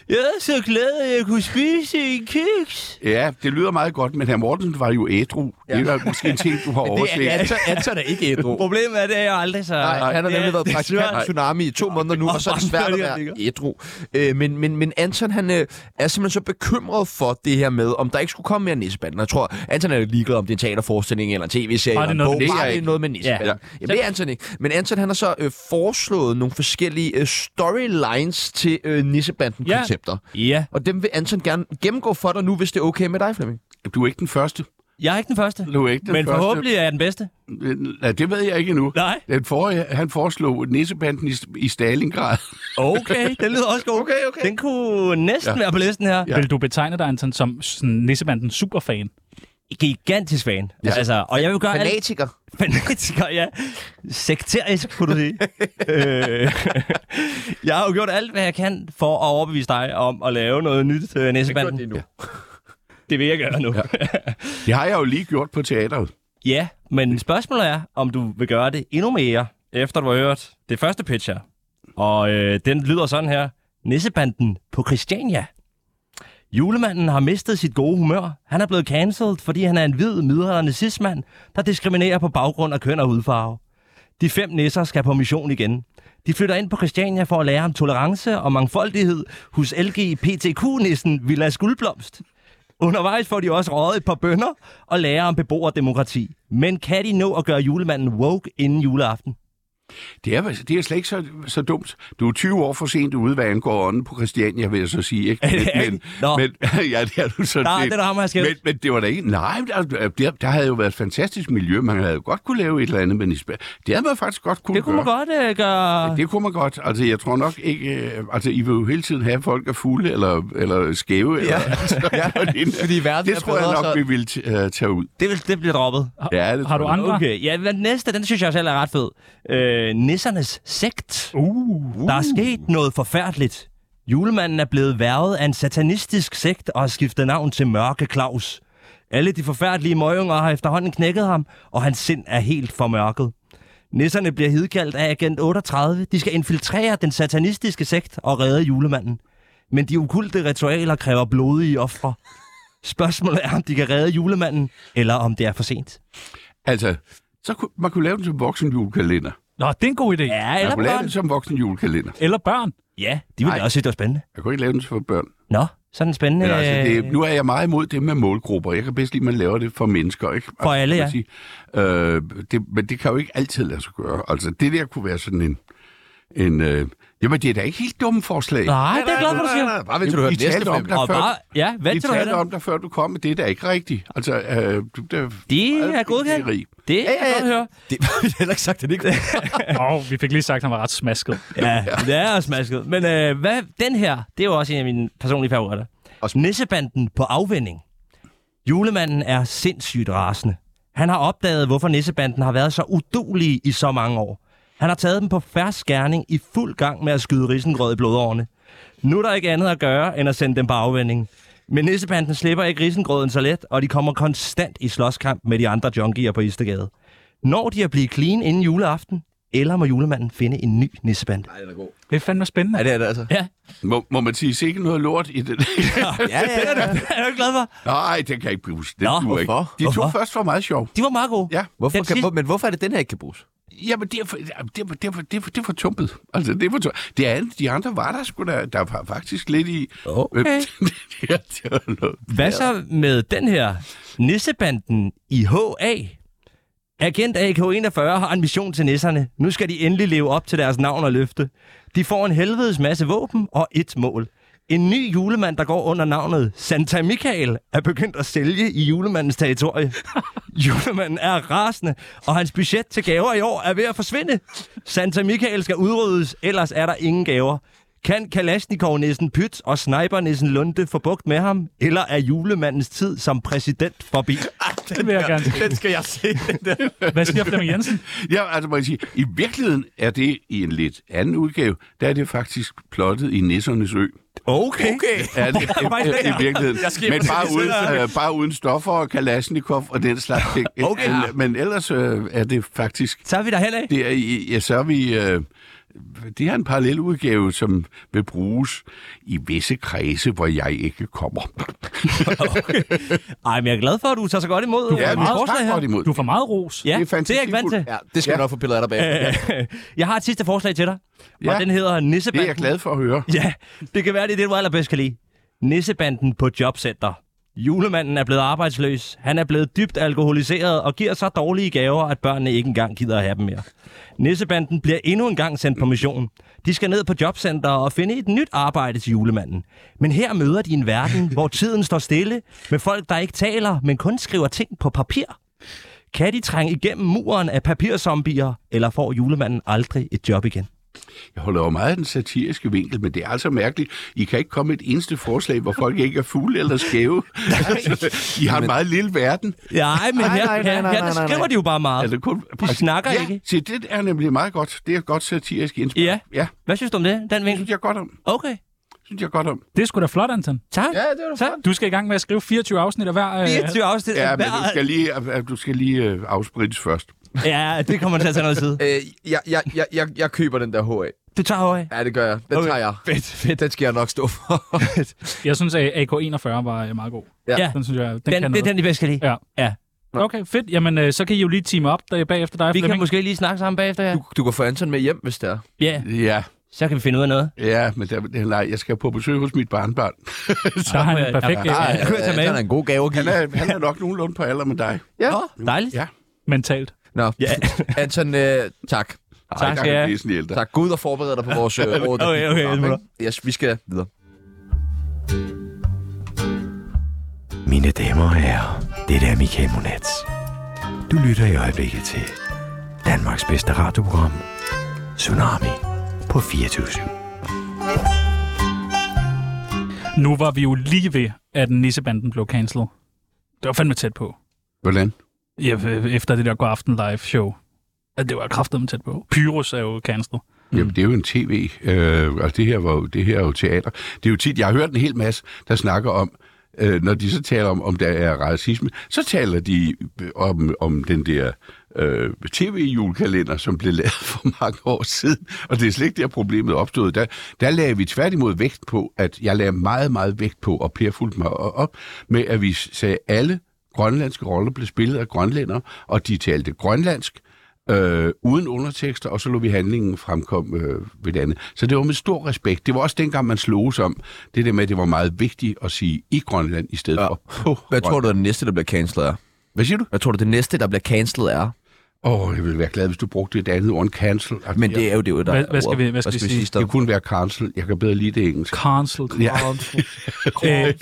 Speaker 8: Jeg er så glad, at jeg kunne spise en kiks.
Speaker 4: Ja, det lyder meget godt, men herr Mortensen var jo ædru. Ja. Det er der måske en ting, du har overset.
Speaker 1: Anton, Anton er ikke ædru.
Speaker 8: Problemet er, det er jeg aldrig så...
Speaker 1: Nej, han har
Speaker 8: Det er-
Speaker 1: nemlig været
Speaker 8: det er
Speaker 1: praktikant
Speaker 8: svært.
Speaker 1: på Tsunami i to måneder nu, og så er det svært at være ædru. Øh, men, men, men Anton, han øh, er simpelthen så bekymret for det det her med, om der ikke skulle komme mere nissebanden. Og Jeg tror, Anton er jo ligeglad, om det er en teaterforestilling eller en tv-serie.
Speaker 2: Bare det er
Speaker 1: eller en
Speaker 2: noget med
Speaker 1: bog.
Speaker 2: nisser,
Speaker 1: Bare det er
Speaker 2: ikke?
Speaker 1: noget med nissebanden. Ja.
Speaker 2: Ja.
Speaker 1: Jamen, det er Anton ikke. Men Anton han har så øh, foreslået nogle forskellige øh, storylines til øh, nissebanden-koncepter. Ja.
Speaker 2: Ja.
Speaker 1: Og dem vil Anton gerne gennemgå for dig nu, hvis det er okay med dig, Flemming.
Speaker 4: Du er ikke den første.
Speaker 8: Jeg er ikke den første.
Speaker 4: Du er ikke den
Speaker 8: Men
Speaker 4: første.
Speaker 8: forhåbentlig er jeg den bedste.
Speaker 4: Ja, det ved jeg ikke endnu.
Speaker 8: Nej.
Speaker 4: Den forrige, han foreslog nissebanden i, i Stalingrad.
Speaker 8: Okay, den lyder også god. Okay, okay. Den kunne næsten ja. være på listen her.
Speaker 4: Ja.
Speaker 2: Vil du betegne dig, Anton, som sådan nissebandens superfan?
Speaker 8: Gigantisk fan. Ja. Altså, og jeg vil gøre alt
Speaker 1: Fanatiker.
Speaker 8: fanatiker, ja. Sekterisk, kunne du sige. øh, jeg har jo gjort alt, hvad jeg kan for at overbevise dig om at lave noget nyt til næsebanden. Det, det vil jeg gøre nu. Ja.
Speaker 4: Det har jeg jo lige gjort på teateret.
Speaker 8: ja, men spørgsmålet er, om du vil gøre det endnu mere, efter du har hørt det første pitch her. Og øh, den lyder sådan her. Nissebanden på Christiania. Julemanden har mistet sit gode humør. Han er blevet cancelled, fordi han er en hvid midaldrende cismand, der diskriminerer på baggrund af køn og hudfarve. De fem nisser skal på mission igen. De flytter ind på Christiania for at lære om tolerance og mangfoldighed hos LGBTQ-nissen Villa Skuldblomst. Undervejs får de også røget et par bønder og lærer om beboerdemokrati. Men kan de nå at gøre julemanden woke inden juleaften?
Speaker 4: Det er, vel- det er slet ikke så, så dumt. Du er 20 år for sent ude, hvad angår ånden på Christiania, vil jeg så sige. Ikke?
Speaker 8: det
Speaker 4: Men,
Speaker 8: rigtigt? Nå.
Speaker 4: men, ja, det er du sådan
Speaker 8: Der,
Speaker 4: set.
Speaker 8: det er der ham, jeg skal.
Speaker 4: Men, men det var da ikke... Nej, der, der, der havde jo været et fantastisk miljø. Man havde jo godt kunne lave et eller andet med Nisbet. Det havde man faktisk godt kunne
Speaker 8: Det kunne man
Speaker 4: gøre.
Speaker 8: godt øh, gøre.
Speaker 4: Det kunne man godt. Altså, jeg tror nok ikke... øh, Altså, I vil jo hele tiden have folk er fulde eller, eller skæve. Ja. Eller, altså, ja.
Speaker 1: Fordi verden
Speaker 4: det
Speaker 1: er
Speaker 4: tror jeg
Speaker 1: bedre,
Speaker 4: nok,
Speaker 1: så-
Speaker 4: vi ville t- øh, tage ud.
Speaker 8: Det, vil, det bliver droppet.
Speaker 4: Ja, det
Speaker 2: Har du
Speaker 4: tror jeg.
Speaker 2: andre?
Speaker 8: Okay, ja, den næste, den synes jeg selv er ret fed. Øh, nissernes sekt.
Speaker 2: Uh.
Speaker 8: Der er sket noget forfærdeligt. Julemanden er blevet værvet af en satanistisk sekt og har skiftet navn til Mørke Claus. Alle de forfærdelige møgunger har efterhånden knækket ham, og hans sind er helt formørket. Nisserne bliver hidkaldt af agent 38. De skal infiltrere den satanistiske sekt og redde julemanden. Men de okulte ritualer kræver blodige ofre. Spørgsmålet er, om de kan redde julemanden, eller om det er for sent.
Speaker 4: Altså, så kunne, man kunne lave den som voksen julekalender.
Speaker 2: Nå, det er en god idé.
Speaker 8: Ja,
Speaker 4: Man
Speaker 8: eller
Speaker 4: kunne lave
Speaker 8: børn.
Speaker 4: den som voksen julekalender.
Speaker 2: Eller børn.
Speaker 8: Ja, de ville
Speaker 4: Ej.
Speaker 8: også synes, det var spændende.
Speaker 4: Jeg kunne ikke lave den for børn.
Speaker 8: Nå, sådan en spændende... øh,
Speaker 4: Men altså, det, nu er jeg meget imod det med målgrupper. Jeg kan bedst lide, at man laver det for mennesker. Ikke?
Speaker 8: For alle, ja.
Speaker 4: Sige. Øh, det, men det kan jo ikke altid lade sig gøre. Altså, det der kunne være sådan en... en øh, jamen, det er da ikke helt dumme forslag.
Speaker 8: Nej, det er jeg glad for, du siger.
Speaker 1: Bare vent til du hører
Speaker 4: I
Speaker 1: den næste
Speaker 4: talte om
Speaker 1: film.
Speaker 4: der
Speaker 8: Og
Speaker 4: før.
Speaker 8: bare, ja,
Speaker 4: I
Speaker 8: vent til du hører
Speaker 4: talte
Speaker 8: det.
Speaker 4: om der før du kom, men det er da ikke rigtigt. Altså, øh, det, det
Speaker 8: Det er godkendt.
Speaker 4: Det
Speaker 8: Det er jeg godt høre.
Speaker 1: Det har vi heller ikke sagt, det ikke
Speaker 2: Åh, oh, vi fik lige sagt, at han var ret smasket.
Speaker 8: Ja, det er også masket. Men øh, hvad, den her, det er jo også en af mine personlige favoritter. Nissebanden på afvending. Julemanden er sindssygt rasende. Han har opdaget, hvorfor nissebanden har været så udulige i så mange år. Han har taget dem på færre skærning i fuld gang med at skyde risengrød i blodårene. Nu er der ikke andet at gøre, end at sende dem på afvending. Men nissebanden slipper ikke risengrøden så let, og de kommer konstant i slåskamp med de andre junkier på Istegade. Når de at blive clean inden juleaften, eller må julemanden finde en ny nissebande?
Speaker 2: Det er fandme spændende.
Speaker 1: Ja, det er det altså.
Speaker 8: Ja,
Speaker 4: Må, må man sige, sikke noget lort i det?
Speaker 1: Ja, ja, ja.
Speaker 8: det er jeg jo glad for.
Speaker 4: Nej, det kan ikke bruges. Det
Speaker 8: Nå,
Speaker 4: duer ikke.
Speaker 1: hvorfor?
Speaker 4: De to
Speaker 8: Hvorfor?
Speaker 4: først var meget sjov.
Speaker 8: De var meget gode.
Speaker 4: Ja.
Speaker 1: Hvorfor
Speaker 8: Den
Speaker 1: kan,
Speaker 8: sidste-
Speaker 1: hvor, men hvorfor er det den her ikke kan bruges?
Speaker 4: Jamen, det er for, det er for, det er for, det er for, det er for tumpet. Altså, det er for tumpet. Det andet, de andre var der sgu da, der var faktisk lidt i...
Speaker 8: Okay.
Speaker 4: det er- det er noget.
Speaker 8: Hvad så med den her nissebanden i HA? Agent AK-41 har en mission til nisserne. Nu skal de endelig leve op til deres navn og løfte. De får en helvedes masse våben og et mål. En ny julemand, der går under navnet Santa Michael, er begyndt at sælge i julemandens territorie. Julemanden er rasende, og hans budget til gaver i år er ved at forsvinde. Santa Michael skal udryddes, ellers er der ingen gaver. Kan Kalashnikov-nissen Pyt og sniper-nissen Lunde få bugt med ham? Eller er julemandens tid som præsident forbi?
Speaker 2: Det vil jeg gerne se.
Speaker 1: Den skal jeg se.
Speaker 2: Hvad siger Flemming Jensen?
Speaker 4: Ja, altså, må jeg sige, i virkeligheden er det i en lidt anden udgave, der er det faktisk plottet i Nissernes Ø.
Speaker 8: Okay.
Speaker 4: Ja, det,
Speaker 8: faktisk
Speaker 4: i, i virkeligheden. Men bare uden, øh, bare uden stoffer og Kalashnikov og den slags ting.
Speaker 8: Okay.
Speaker 4: Men, men ellers øh, er det faktisk
Speaker 8: Så er vi der hen af.
Speaker 4: Det er, i- ja, så er vi... Øh, det er en parallel udgave, som vil bruges i visse kredse, hvor jeg ikke kommer.
Speaker 8: Ej, men jeg er glad for, at du tager så godt imod.
Speaker 4: Ja,
Speaker 8: øh,
Speaker 4: vi
Speaker 8: mit
Speaker 4: tager
Speaker 8: forslag her.
Speaker 4: godt imod.
Speaker 2: Du får meget ros.
Speaker 8: Ja,
Speaker 4: Det er
Speaker 8: det er, det er jeg ikke vant til.
Speaker 1: Ja, det skal ja.
Speaker 4: Ja.
Speaker 1: du nok få billeder af dig bag.
Speaker 8: Jeg har et sidste forslag til dig, og
Speaker 4: Ja.
Speaker 8: den hedder
Speaker 4: Det
Speaker 8: Nissebanden.
Speaker 4: er jeg glad for at høre.
Speaker 8: Ja, det kan være, det er det, du allerbedst kan lide. Nissebanden på Jobcenter. Julemanden er blevet arbejdsløs, han er blevet dybt alkoholiseret og giver så dårlige gaver, at børnene ikke engang gider at have dem mere. Nissebanden bliver endnu en gang sendt på mission. De skal ned på jobcenter og finde et nyt arbejde til julemanden. Men her møder de en verden, hvor tiden står stille, med folk, der ikke taler, men kun skriver ting på papir. Kan de trænge igennem muren af papirzombier, eller får julemanden aldrig et job igen?
Speaker 4: Jeg holder jo meget af den satiriske vinkel, men det er altså mærkeligt. I kan ikke komme med et eneste forslag, hvor folk ikke er fugle eller skæve. Altså, I har en meget lille verden.
Speaker 8: Nej, men
Speaker 9: nej,
Speaker 8: her,
Speaker 9: nej,
Speaker 8: her,
Speaker 9: nej,
Speaker 8: her
Speaker 9: nej,
Speaker 8: der
Speaker 9: nej.
Speaker 8: skriver de jo bare meget.
Speaker 4: Altså, kun...
Speaker 8: De snakker
Speaker 4: ja,
Speaker 8: ikke.
Speaker 4: Se, det er nemlig meget godt. Det er et godt satirisk indspil.
Speaker 8: Ja.
Speaker 4: ja.
Speaker 8: Hvad synes du om det, den
Speaker 4: Det
Speaker 8: vinkel?
Speaker 4: synes jeg godt om.
Speaker 8: Okay,
Speaker 4: synes jeg godt om.
Speaker 2: Det er sgu da flot, Anton.
Speaker 8: tak.
Speaker 4: Ja, det var
Speaker 8: tak.
Speaker 4: flot.
Speaker 2: Du skal i gang med at skrive 24 afsnit af hver... Øh,
Speaker 8: 24 afsnit.
Speaker 4: Ja, men du
Speaker 8: hver-
Speaker 4: skal lige, øh, du skal lige øh, afsprittes først.
Speaker 8: Ja, det kommer til at tage noget tid.
Speaker 1: Øh, jeg, jeg, jeg, jeg, jeg køber den der HA.
Speaker 8: Du tager høj.
Speaker 1: Ja, det gør jeg. Den okay. tager jeg.
Speaker 8: Fedt, fedt.
Speaker 1: Den skal jeg nok stå for.
Speaker 2: Jeg synes, at AK-41 var øh, meget god.
Speaker 1: Ja.
Speaker 8: Ja.
Speaker 2: Den synes jeg, den, den
Speaker 8: Den,
Speaker 2: kan
Speaker 8: det
Speaker 2: noget.
Speaker 8: er den, I bedst kan lide.
Speaker 2: Ja.
Speaker 8: ja.
Speaker 2: Okay, fedt. Jamen, øh, så kan I jo lige teame op der, bagefter dig,
Speaker 8: Vi kan
Speaker 2: Flemming.
Speaker 8: måske lige snakke sammen bagefter her.
Speaker 1: Du, du kan få Anton med hjem, hvis det er.
Speaker 8: Ja,
Speaker 4: Ja,
Speaker 8: så kan vi finde ud af noget.
Speaker 4: ja men der, nej, jeg skal på besøg hos mit barnbarn.
Speaker 2: Så har han en perfekt øh,
Speaker 8: Ja,
Speaker 2: ja,
Speaker 8: det kunne jeg tage med.
Speaker 1: Anton er en god gave at give.
Speaker 4: Han er, øh, han er nok nogenlunde på alder med dig.
Speaker 1: Ja.
Speaker 8: Dejligt.
Speaker 4: Ja.
Speaker 2: mentalt.
Speaker 1: Nå,
Speaker 8: Ja.
Speaker 1: Anton, øh, tak.
Speaker 4: Ej,
Speaker 8: Tak skal
Speaker 4: der
Speaker 8: jeg
Speaker 4: er
Speaker 8: have.
Speaker 4: du væsentligt ældre.
Speaker 1: Tak. Gå ud og forbered dig på vores øh, overdækning.
Speaker 8: okay, det må du.
Speaker 1: Yes, vi skal videre.
Speaker 7: Mine damer og herrer, det er Michael Monats. Du lytter i øjeblikket til Danmarks bedste radioprogram, Tsunami på 24
Speaker 2: Nu var vi jo lige ved, at nissebanden blev cancelled. Det var fandme tæt på.
Speaker 4: Hvordan?
Speaker 2: Ja, øh, efter det der God Aften Live show. Ja, det var kraftedeme tæt på. Pyrus er jo cancelled.
Speaker 4: Jamen, det er jo en tv, øh, og det her, var jo, det her er jo teater. Det er jo tit, jeg har hørt en hel masse, der snakker om, øh, når de så taler om, om der er racisme, så taler de øh, om, om den der øh, tv-julekalender, som blev lavet for mange år siden, og det er slet ikke der, problemet opstod. Der, der lagde vi tværtimod vægt på, at jeg lagde meget, meget vægt på, og Per fulgte mig op, med at vi sagde, at alle grønlandske roller blev spillet af grønlændere, og de talte grønlandsk, øh, uden undertekster, og så lå vi handlingen fremkom øh, ved det andet. Så det var med stor respekt. Det var også dengang, man sloges om det der med, at det var meget vigtigt at sige i Grønland i stedet
Speaker 1: Ja.
Speaker 4: ja. for på
Speaker 1: Hvad tror
Speaker 4: Grønland.
Speaker 1: du, at det næste, der bliver cancelet er?
Speaker 4: Hvad siger du?
Speaker 1: Hvad tror du, det næste, der bliver cancelet er?
Speaker 4: Åh, oh, jeg ville være glad, hvis du brugte et andet ord end cancel.
Speaker 1: Men det er jo det, der
Speaker 2: Hvad-
Speaker 1: er
Speaker 2: hvad skal
Speaker 1: ordet.
Speaker 2: vi- hvad skal vi sige?
Speaker 1: der?
Speaker 4: Det kunne være cancel. Jeg kan bedre lide det engelsk.
Speaker 2: Cancelled.
Speaker 4: Ja.
Speaker 2: Øh,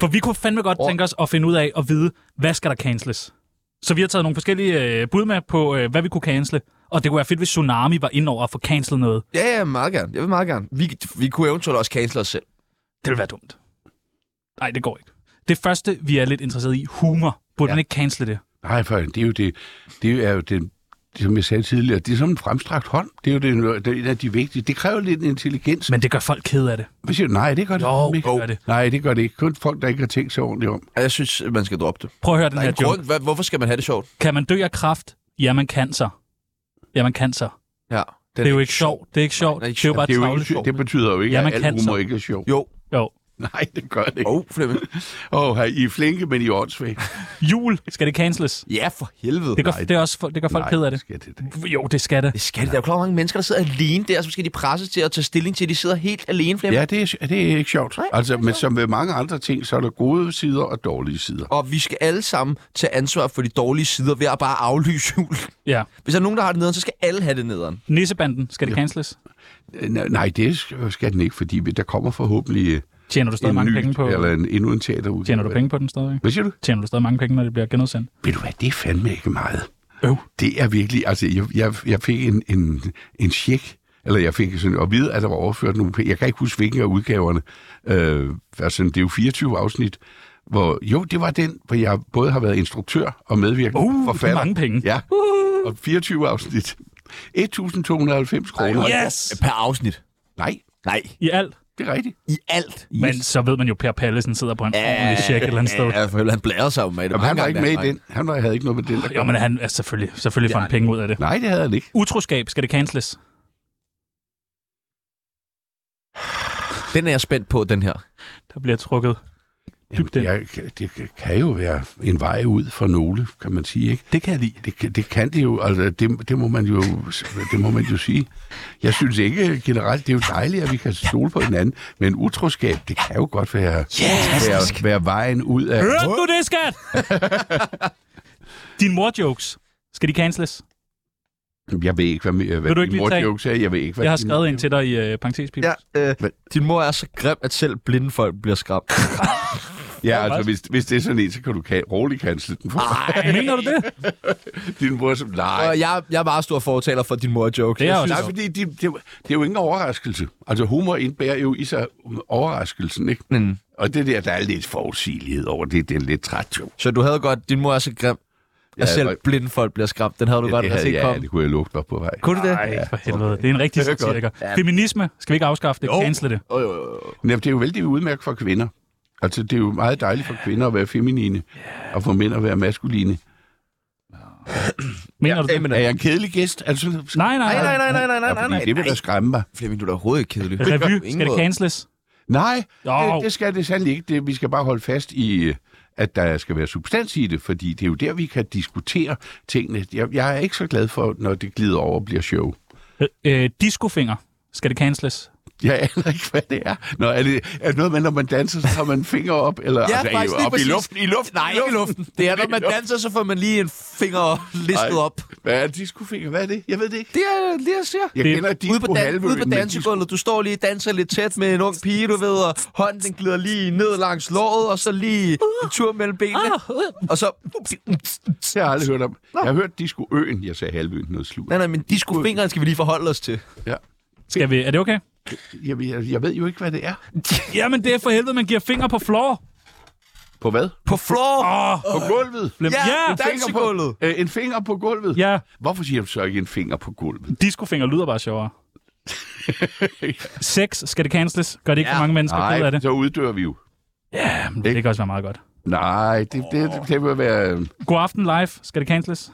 Speaker 2: for vi kunne fandme godt tænke os at finde ud af at vide, hvad skal der canceles? Så vi har taget nogle forskellige øh, bud med på, øh, hvad vi kunne cancele. Og det kunne være fedt, hvis Tsunami var ind over at få cancelet noget.
Speaker 1: Ja, ja, meget gerne. Jeg vil meget gerne. Vi, vi kunne eventuelt også cancele os selv.
Speaker 2: Det ville være dumt. Nej, det går ikke. Det første, vi er lidt interesseret i, humor. Burde ja. man ikke cancele det?
Speaker 4: Nej, for det er jo det. Det er jo den det, som jeg sagde tidligere, det er som en fremstrakt hånd. Det er jo det, det er en af de vigtige. Det kræver lidt intelligens.
Speaker 2: Men det gør folk ked af det.
Speaker 4: Hvad siger du? Nej, det gør det
Speaker 2: Jo,
Speaker 4: ikke.
Speaker 2: det gør det.
Speaker 4: Nej, det gør det ikke. Kun folk, der ikke har tænkt sig ordentligt om.
Speaker 1: Ja, Jeg synes, man skal droppe det.
Speaker 2: Prøv at høre den
Speaker 1: Der er
Speaker 2: her
Speaker 1: en
Speaker 2: joke.
Speaker 1: grund. Hvad, hvorfor skal man have det sjovt?
Speaker 2: Kan man dø af kraft? Ja, man kan så. Ja, man kan så.
Speaker 1: Ja. Den
Speaker 2: Det er jo ikke sjovt. Det er ikke
Speaker 1: Nej,
Speaker 2: sjovt.
Speaker 1: det er ikke
Speaker 2: Det er jo bare
Speaker 4: Det, er jo
Speaker 2: travlt.
Speaker 4: ikke, det betyder jo ikke,
Speaker 2: Ja,
Speaker 4: ja,
Speaker 2: man
Speaker 4: at al
Speaker 2: kan
Speaker 4: humor
Speaker 2: så.
Speaker 4: ikke er sjov.
Speaker 1: Jo.
Speaker 2: Jo.
Speaker 4: Nej, det gør det ikke.
Speaker 1: Oh, Flemming.
Speaker 4: Åh, oh, I er flinke, men I er åndssvagt.
Speaker 2: Jul. Skal det canceles?
Speaker 1: Ja, for helvede.
Speaker 2: Det gør, det er også, for- det gør folk
Speaker 4: Nej,
Speaker 2: ked af det.
Speaker 4: skal det da ikke.
Speaker 2: Jo, det skal det.
Speaker 1: Det skal det. Der er jo klart mange mennesker, der sidder alene der, så skal de presses til at tage stilling til, at de sidder helt alene, Flemming.
Speaker 4: Ja, det er, det er ikke sjovt. altså, men som med mange andre ting, så er der gode sider og dårlige sider.
Speaker 1: Og vi skal alle sammen tage ansvar for de dårlige sider ved at bare aflyse jul.
Speaker 2: Ja.
Speaker 1: Hvis der er nogen, der har det nederen, så skal alle have det nederen.
Speaker 2: Nissebanden. Skal det canceles?
Speaker 4: Øh, Nej, det skal- skal den ikke, fordi der kommer forhåbentlig øh,
Speaker 2: Tjener du stadig
Speaker 4: en
Speaker 2: mange
Speaker 4: ny,
Speaker 2: penge på?
Speaker 4: eller en, endnu en teaterudgave.
Speaker 2: Tjener du penge på den stadig?
Speaker 4: Hvad siger du?
Speaker 2: Tjener du stadig mange penge, når det bliver genudsendt?
Speaker 4: Ved du hvad, det er fandme ikke meget.
Speaker 2: Øv.
Speaker 4: Det er virkelig, altså jeg, jeg, jeg fik en, en, en check, eller jeg fik sådan, at vide, at der var overført nogle penge. Jeg kan ikke huske, hvilken af udgaverne. Øh, altså, det er jo 24 afsnit, hvor, jo, det var den, hvor jeg både har været instruktør og medvirkende
Speaker 2: Uh, det er
Speaker 4: forfatter.
Speaker 2: mange penge. Uh-huh.
Speaker 4: Ja, og 24 afsnit. 1.290 kroner.
Speaker 2: Yes!
Speaker 1: Per afsnit.
Speaker 4: Nej,
Speaker 1: Nej.
Speaker 2: I alt.
Speaker 4: det er rigtigt.
Speaker 1: I alt.
Speaker 2: Men så ved man jo, Per Pallesen sidder på en ordentlig check et eller andet sted.
Speaker 1: Ja, for helvede, han blærede sig jo med det.
Speaker 4: Jamen,
Speaker 1: mange
Speaker 4: han var
Speaker 1: gange,
Speaker 4: ikke
Speaker 1: da
Speaker 4: med i
Speaker 1: var
Speaker 4: den. Han var, havde ikke noget med den. Der
Speaker 2: Jo,
Speaker 4: kom.
Speaker 2: men han er selvfølgelig, selvfølgelig får han penge ud af det.
Speaker 4: Nej, det havde han ikke.
Speaker 2: Utroskab. Skal det canceles?
Speaker 1: Den er jeg spændt på, den her.
Speaker 2: Der bliver trukket dybden?
Speaker 4: Jamen, jeg, det kan jo være en vej ud for nogle, kan man sige, ikke? Det kan jeg lide. Det, kan- det kan det jo, altså det, det, må man jo, det må man jo sige. Jeg synes ikke generelt, det er jo dejligt, at vi kan stole på hinanden, men utroskab, det kan jo godt være, være, være vejen ud af...
Speaker 2: Hørte du det, skat? Din mor-jokes, skal de canceles?
Speaker 4: Jeg ved ikke, hvad, hvad
Speaker 2: Vil du ikke
Speaker 4: din
Speaker 2: lige tage-
Speaker 4: mor-jokes er. Jeg ved ikke, hvad
Speaker 2: Jeg har
Speaker 4: din-
Speaker 2: skrevet en til dig i øh, parentespibus. Ja.
Speaker 1: Øh, din mor er så grim, at selv blinde folk bliver skræmt.
Speaker 4: Ja, altså, hvis, hvis det er sådan en, så kan du kan, roligt cancel den. Nej,
Speaker 2: mener du det?
Speaker 4: Din mor som, nej.
Speaker 1: Og jeg, jeg er meget stor fortaler for din mor-joke.
Speaker 2: Det er også
Speaker 4: Nej,
Speaker 2: sjovt.
Speaker 4: fordi det, det, det er jo ingen overraskelse. Altså, humor indbærer jo i sig overraskelsen, ikke? Mm. Og det der, der er lidt forudsigelighed over det, det er lidt træt jo.
Speaker 1: Så du havde godt, din mor er så grim, at
Speaker 4: Ja,
Speaker 1: ja, selv
Speaker 4: og-
Speaker 1: blinde folk bliver skræmt. Den havde du
Speaker 4: Ja,
Speaker 1: godt
Speaker 4: det
Speaker 1: have
Speaker 4: havde,
Speaker 1: set
Speaker 4: ja,
Speaker 1: komme.
Speaker 4: det kunne jeg lugte op på vej.
Speaker 1: Kunne du det?
Speaker 4: Ja.
Speaker 2: For helvede, det er en rigtig
Speaker 1: Det er godt.
Speaker 2: satiriker. Feminisme, skal vi ikke afskaffe det?
Speaker 1: Jo.
Speaker 2: Cancel det.
Speaker 1: Jo, jo, jo.
Speaker 4: Jamen, det er jo vældig udmærket for kvinder. Altså, det er jo meget dejligt for kvinder at være feminine, og for mænd at være maskuline.
Speaker 2: Mener du det?
Speaker 4: Er jeg en kedelig gæst? Altså,
Speaker 2: Nej, nej, nej.
Speaker 1: nej, nej, nej,
Speaker 4: Ja, fordi det vil da skræmme mig.
Speaker 1: Flemming, du er da overhovedet ikke kedelig. På
Speaker 2: Revy,
Speaker 1: ingen
Speaker 2: skal det
Speaker 1: måde.
Speaker 2: canceles?
Speaker 4: Nej,
Speaker 2: Jo.
Speaker 4: det, det skal det sandelig ikke. Det, vi skal bare holde fast i, øh, at der skal være substans i det, fordi det er jo der, vi kan diskutere tingene. Jeg, jeg er ikke så glad for, når det glider over og bliver show.
Speaker 2: Øh, øh, discofinger, skal det canceles?
Speaker 4: Jeg aner ikke, hvad det er. Nå, er det, er det noget med, når man danser, så har man fingre op? Eller,
Speaker 1: Ja,
Speaker 4: altså,
Speaker 1: faktisk lige
Speaker 4: op i
Speaker 1: præcis.
Speaker 4: luften, i luften,
Speaker 1: Nej,
Speaker 4: i
Speaker 1: ikke i
Speaker 4: luften.
Speaker 1: luften. Det er, når man danser, så får man lige en finger listet
Speaker 4: Nej.
Speaker 1: op.
Speaker 4: Hvad er discofinger? Hvad er det? Jeg ved det ikke.
Speaker 1: Det er det, jeg siger.
Speaker 4: Jeg
Speaker 2: Det-
Speaker 4: kender
Speaker 1: Ude på,
Speaker 4: disco
Speaker 1: dan- ude
Speaker 4: halvøen,
Speaker 1: på
Speaker 4: men
Speaker 1: dansegulvet, du står lige og danser lidt tæt med en ung pige, du ved, og hånden den glider lige ned langs låret, og så lige en tur mellem benene, og så...
Speaker 4: disco- Det har jeg aldrig hørt om. Jeg har hørt discoøen. Jeg sagde halvøen noget slut.
Speaker 1: Nej, nej, men discofingeren skal vi lige forholde os til.
Speaker 2: Skal vi, er det okay?
Speaker 4: Jeg, jeg, jeg ved jo ikke, hvad det er.
Speaker 2: Jamen, det er for helvede, man giver finger på floor.
Speaker 4: På hvad?
Speaker 1: På floor!
Speaker 4: På
Speaker 2: Åh,
Speaker 4: gulvet.
Speaker 2: ja, ja,
Speaker 1: det er- Øh, Dansegulvet.
Speaker 4: Finger på, øh, en finger på gulvet.
Speaker 2: ja.
Speaker 4: Hvorfor siger du så ikke en finger på gulvet?
Speaker 2: Discofinger lyder bare sjovere. Sex, skal det canceles? Gør det ikke ja. for mange mennesker ked af det?
Speaker 4: så uddør vi jo.
Speaker 2: Jamen, det kan også være meget godt.
Speaker 4: Nej, det, det, det, det vil være...
Speaker 2: God aften live, skal det canceles?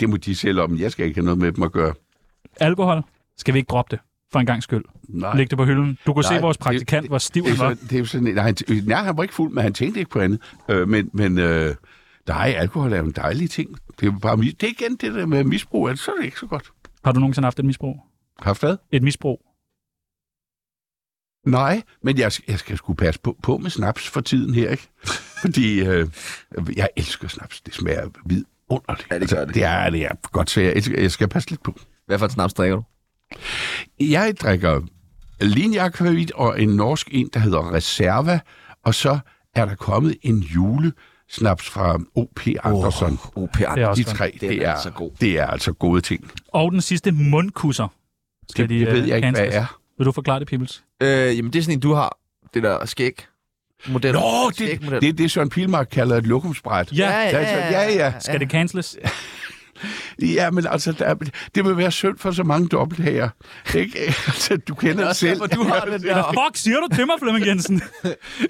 Speaker 4: Det må de selv om. Jeg skal ikke have noget med dem at gøre.
Speaker 2: Alkohol, skal vi ikke droppe det? For en gang skyld.
Speaker 4: Nej.
Speaker 2: Læg det på hylden. Du kunne
Speaker 4: Nej,
Speaker 2: se vores
Speaker 4: det-
Speaker 2: praktikant,
Speaker 4: det-
Speaker 2: hvor stiv
Speaker 4: Det er,
Speaker 2: han var.
Speaker 4: sådan, det er sådan, nej, han, nej, han var ikke fuld, men han tænkte ikke på andet. Øh, men men øh, nej, alkohol er jo en dejlig ting. Det er, jo bare, mis- det er igen det der med misbrug, altså, så er det ikke så godt.
Speaker 2: Har du nogensinde haft et misbrug?
Speaker 4: Haft hvad?
Speaker 2: Et misbrug?
Speaker 4: Nej, men jeg, jeg skal sgu passe på, på med snaps for tiden her, ikke? Fordi øh, jeg elsker snaps. Det smager vidunderligt.
Speaker 1: Ja, det gør det.
Speaker 4: det er det er godt, så jeg, elsker- jeg skal passe lidt på.
Speaker 1: Hvad for en snaps drikker du?
Speaker 4: Jeg drikker linjakvavit og en norsk en, der hedder Reserva, og så er der kommet en julesnaps fra O.P. Andersen. Oh,
Speaker 1: OP
Speaker 2: Det er også
Speaker 4: de
Speaker 2: godt.
Speaker 4: tre,
Speaker 1: Den
Speaker 4: det
Speaker 1: er
Speaker 4: er,
Speaker 1: altså god.
Speaker 4: det er altså gode ting.
Speaker 2: Og den sidste mundkusser.
Speaker 4: Det, det
Speaker 2: øh,
Speaker 4: ved jeg ikke, hvad
Speaker 2: canceles?
Speaker 4: er.
Speaker 2: Vil du forklare det, Pibbles?
Speaker 1: Øh, jamen, det er sådan en, du har. Det der skæg. Model.
Speaker 4: Nå, det, det er det, Søren Pilmark kalder et lokumsbræt.
Speaker 2: Ja.
Speaker 4: ja, ja. ja, ja.
Speaker 2: Skal det canceles?
Speaker 4: Ja, men altså, der, det vil være synd for så mange dobbelthager. Ikke? Altså, du kender det selv.
Speaker 1: Du har den der.
Speaker 2: Fuck, siger du til mig, Flemming Jensen?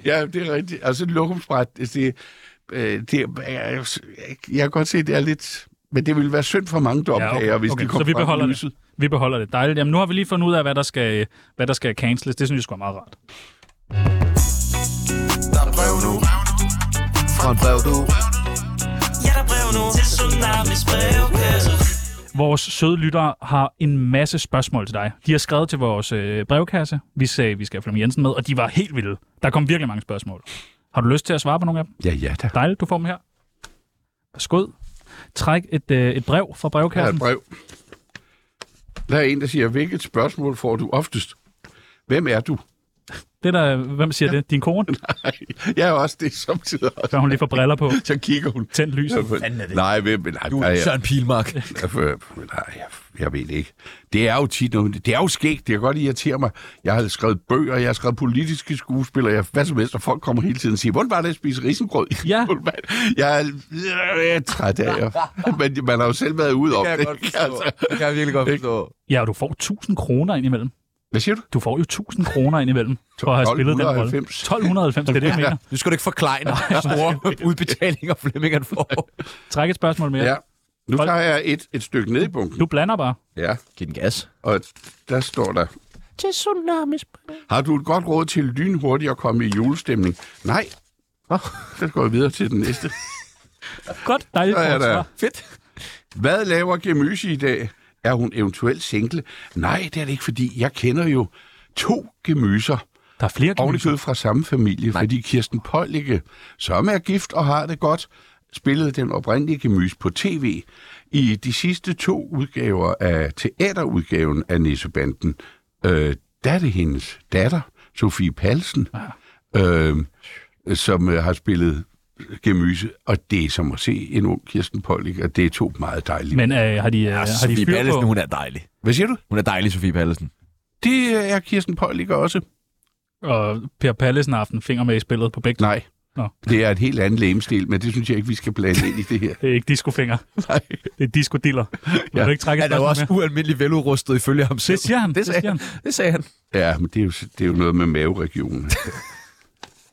Speaker 4: Ja, det er rigtigt. Altså, et lokumsbræt, det, det, øh, det er, jeg kan godt se, det er lidt... Men det ville være synd for mange dobbelthager, ja, okay. hvis de kom
Speaker 2: så vi
Speaker 4: frem i
Speaker 2: beholder
Speaker 4: lyset.
Speaker 2: det. Vi beholder det. Dejligt. Jamen, nu har vi lige fundet ud af, hvad der skal, hvad der skal canceles. Det synes jeg sgu er meget rart.
Speaker 5: Der er brev nu.
Speaker 1: Fra en brev, du.
Speaker 5: Ja, der er brev nu. Til Tsunamis brevkasse.
Speaker 2: Vores søde lyttere har en masse spørgsmål til dig. De har skrevet til vores øh, brevkasse. Vi sagde, vi skal have Flemming Jensen med, og de var helt vilde. Der kom virkelig mange spørgsmål. Har du lyst til at svare på nogle af dem?
Speaker 4: Ja, ja da.
Speaker 2: Dejligt, du får dem her. Værsgo. Træk et, øh, et brev
Speaker 4: Her
Speaker 2: fra
Speaker 4: er
Speaker 2: brevkassen.
Speaker 4: et brev. Der er en, der siger, hvilket spørgsmål får du oftest? Hvem er du?
Speaker 2: Det der, hvem siger ja. det? Din kone?
Speaker 4: Nej, jeg er også det samtidig også.
Speaker 2: Så hun lige får briller på.
Speaker 4: Så kigger hun.
Speaker 2: Tænd lyset.
Speaker 4: Nej, hvem? Nej,
Speaker 1: Du
Speaker 4: nej,
Speaker 1: er
Speaker 4: jeg-
Speaker 1: Søren Pilmark.
Speaker 4: Jeg, jeg, jeg, jeg ved det ikke. Det er jo tit noget, det er jo skægt, det kan godt irritere mig. Jeg har skrevet bøger, jeg har skrevet politiske skuespillere, jeg, hvad som helst, og folk kommer hele tiden og siger, hvordan var det at spise risengrød?
Speaker 2: Ja.
Speaker 4: Hvordan var det?" jeg, er, jeg er træt af jer. Men man har jo selv været ude om
Speaker 1: kan jeg
Speaker 4: det.
Speaker 1: godt
Speaker 4: ikke? Altså.
Speaker 1: forstå. Det kan jeg virkelig godt forstå.
Speaker 2: Ja, og du får 1000 kroner indimellem.
Speaker 4: Hvad siger du?
Speaker 2: Du får jo 1000 kroner indimellem for at have spillet den rolle.
Speaker 4: 1290.
Speaker 2: 1290, det er det, jeg mener.
Speaker 1: Nu skal du ikke forklejne store udbetalinger, Flemming han får.
Speaker 2: Træk et spørgsmål mere.
Speaker 4: Ja. Nu
Speaker 2: Folk-
Speaker 4: tager jeg et, et stykke ned i bunken.
Speaker 2: Du blander bare.
Speaker 4: Ja.
Speaker 1: Giv den gas.
Speaker 4: Og der står der... Til tsunamis. Har du et godt råd til lynhurtigt at komme i julestemning? Nej, Nå, så går jeg videre til den næste.
Speaker 2: Godt, dejligt.
Speaker 4: Så er
Speaker 2: godt
Speaker 4: der.
Speaker 2: svar.
Speaker 4: Fedt. Hvad laver Gemysi i dag? Er hun eventuelt single? Nej, det er det ikke, fordi jeg kender jo to gemyser.
Speaker 2: Der er flere gemyser.
Speaker 4: Ovenikød fra samme familie, Nej. fordi Kirsten Pollicke, som er gift og har det godt, spillede den oprindelige gemys på tv i de sidste to udgaver af teaterudgaven af Nissebanden. Øh, der er det hendes datter, Sofie Palsen, øh, som øh, har spillet gemyse, og det er som at se en ung Kirsten Pollicke, og det er to meget dejlige.
Speaker 2: Men øh, har de, øh, har de
Speaker 1: Sofie
Speaker 2: fyr
Speaker 1: Pallesen,
Speaker 2: på?
Speaker 1: hun Altså, er dejlig.
Speaker 4: Hvad siger du?
Speaker 1: Hun er dejlig, Sofie Pallesen.
Speaker 4: Det er Kirsten Pollicke også.
Speaker 2: Og Per Pallesen har haft en finger med i spillet på begge. to.
Speaker 4: Nej.
Speaker 2: Nå.
Speaker 4: Det er et helt andet lægemstil, men det synes jeg ikke, vi skal blande ind i det her.
Speaker 2: Det er ikke discofinger.
Speaker 4: Nej.
Speaker 2: Det er discodiller. Vil
Speaker 4: Ja.
Speaker 2: du ikke trække et
Speaker 1: Han er jo
Speaker 2: spørgsmål
Speaker 1: også
Speaker 2: mere?
Speaker 1: ualmindelig veludrustet ifølge ham selv.
Speaker 2: Det siger han.
Speaker 1: Det sagde,
Speaker 2: siger han.
Speaker 1: det sagde han.
Speaker 4: Ja, men det er jo, det er jo noget med maveregionen.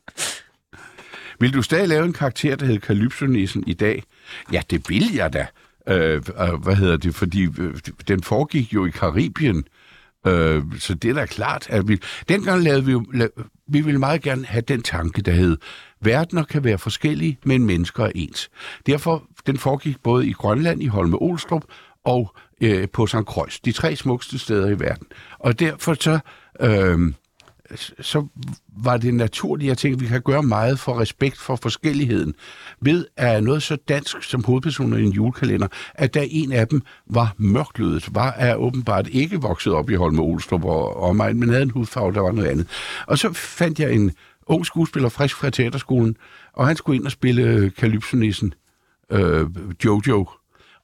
Speaker 4: vil du stadig lave en karakter, der hedder Kalypsonissen i dag? Ja, det vil jeg da. Øh, og hvad hedder det? Fordi øh, den foregik jo i Karibien. Øh, så det er da klart, at vi... Dengang lavede vi jo... La- vi ville meget gerne have den tanke, der hed, verdener kan være forskellige, men mennesker er ens. Derfor, den foregik både i Grønland, i Holme Olstrup og øh, på St. Croix. De tre smukkeste steder i verden. Og derfor så... Øh, så var det naturligt, jeg tænkte, at vi kan gøre meget for respekt for forskelligheden, ved at noget så dansk som hovedpersoner i en julekalender, at da en af dem var mørklødet, var er åbenbart ikke vokset op i Holme Olstrup og omegn, men havde en hudfarve, der var noget andet. Og så fandt jeg en ung skuespiller frisk fra teaterskolen, og han skulle ind og spille øh, Kalypsonissen, øh, Jojo.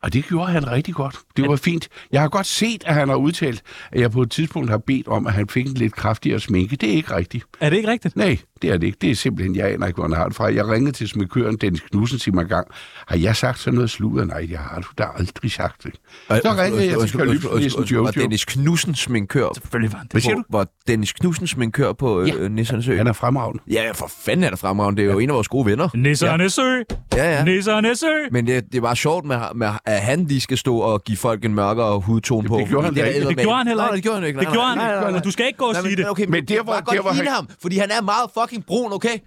Speaker 4: Og det gjorde han rigtig godt. Det var fint. Jeg har godt set, at han har udtalt, at jeg på et tidspunkt har bedt om, at han fik en lidt kraftigere sminke. Det er ikke rigtigt.
Speaker 2: Er det ikke rigtigt?
Speaker 4: Nej, det er det ikke. Det er simpelthen, jeg aner ikke, hvor han har det fra. Jeg ringede til smikøren Dennis Knudsen til mig engang. Har jeg sagt sådan noget sludder? Nej, jeg har du da aldrig sagt det. Så ringede jeg til Kalypsnissen
Speaker 1: Var
Speaker 4: Jojo.
Speaker 1: Dennis Knudsen sminkør?
Speaker 2: Selvfølgelig var han det.
Speaker 1: Hvad
Speaker 4: siger du?
Speaker 1: Var Dennis Knudsen sminkør på øh, ja. Nissernes Ø?
Speaker 4: Han er fremragende.
Speaker 1: Ja, for fanden er det fremragende. Det er jo ja. en af vores gode venner.
Speaker 2: Nissernes Ø!
Speaker 1: Ja, ja.
Speaker 2: Nissernes Ø!
Speaker 1: Men det, det var sjovt, med, med, at han lige skal stå og give folk en mørkere hudtone på.
Speaker 4: det gjorde han
Speaker 1: er
Speaker 4: da ikke.
Speaker 1: eddermame-
Speaker 2: Det gjorde han heller
Speaker 1: Nej,
Speaker 2: ikke.
Speaker 1: det gjorde han ikke.
Speaker 2: Det
Speaker 1: Nej,
Speaker 2: gjorde
Speaker 1: nej,
Speaker 2: han
Speaker 1: nej,
Speaker 2: ikke,
Speaker 1: nej,
Speaker 2: og du skal ikke gå og
Speaker 1: nej,
Speaker 2: sige
Speaker 1: men-
Speaker 2: det.
Speaker 1: Okay, men,
Speaker 4: Men
Speaker 1: men
Speaker 4: der,
Speaker 1: det
Speaker 4: hvor-
Speaker 1: var
Speaker 4: der, hvor
Speaker 1: godt ligne
Speaker 4: han-
Speaker 1: ham, fordi han er meget fucking brun, okay?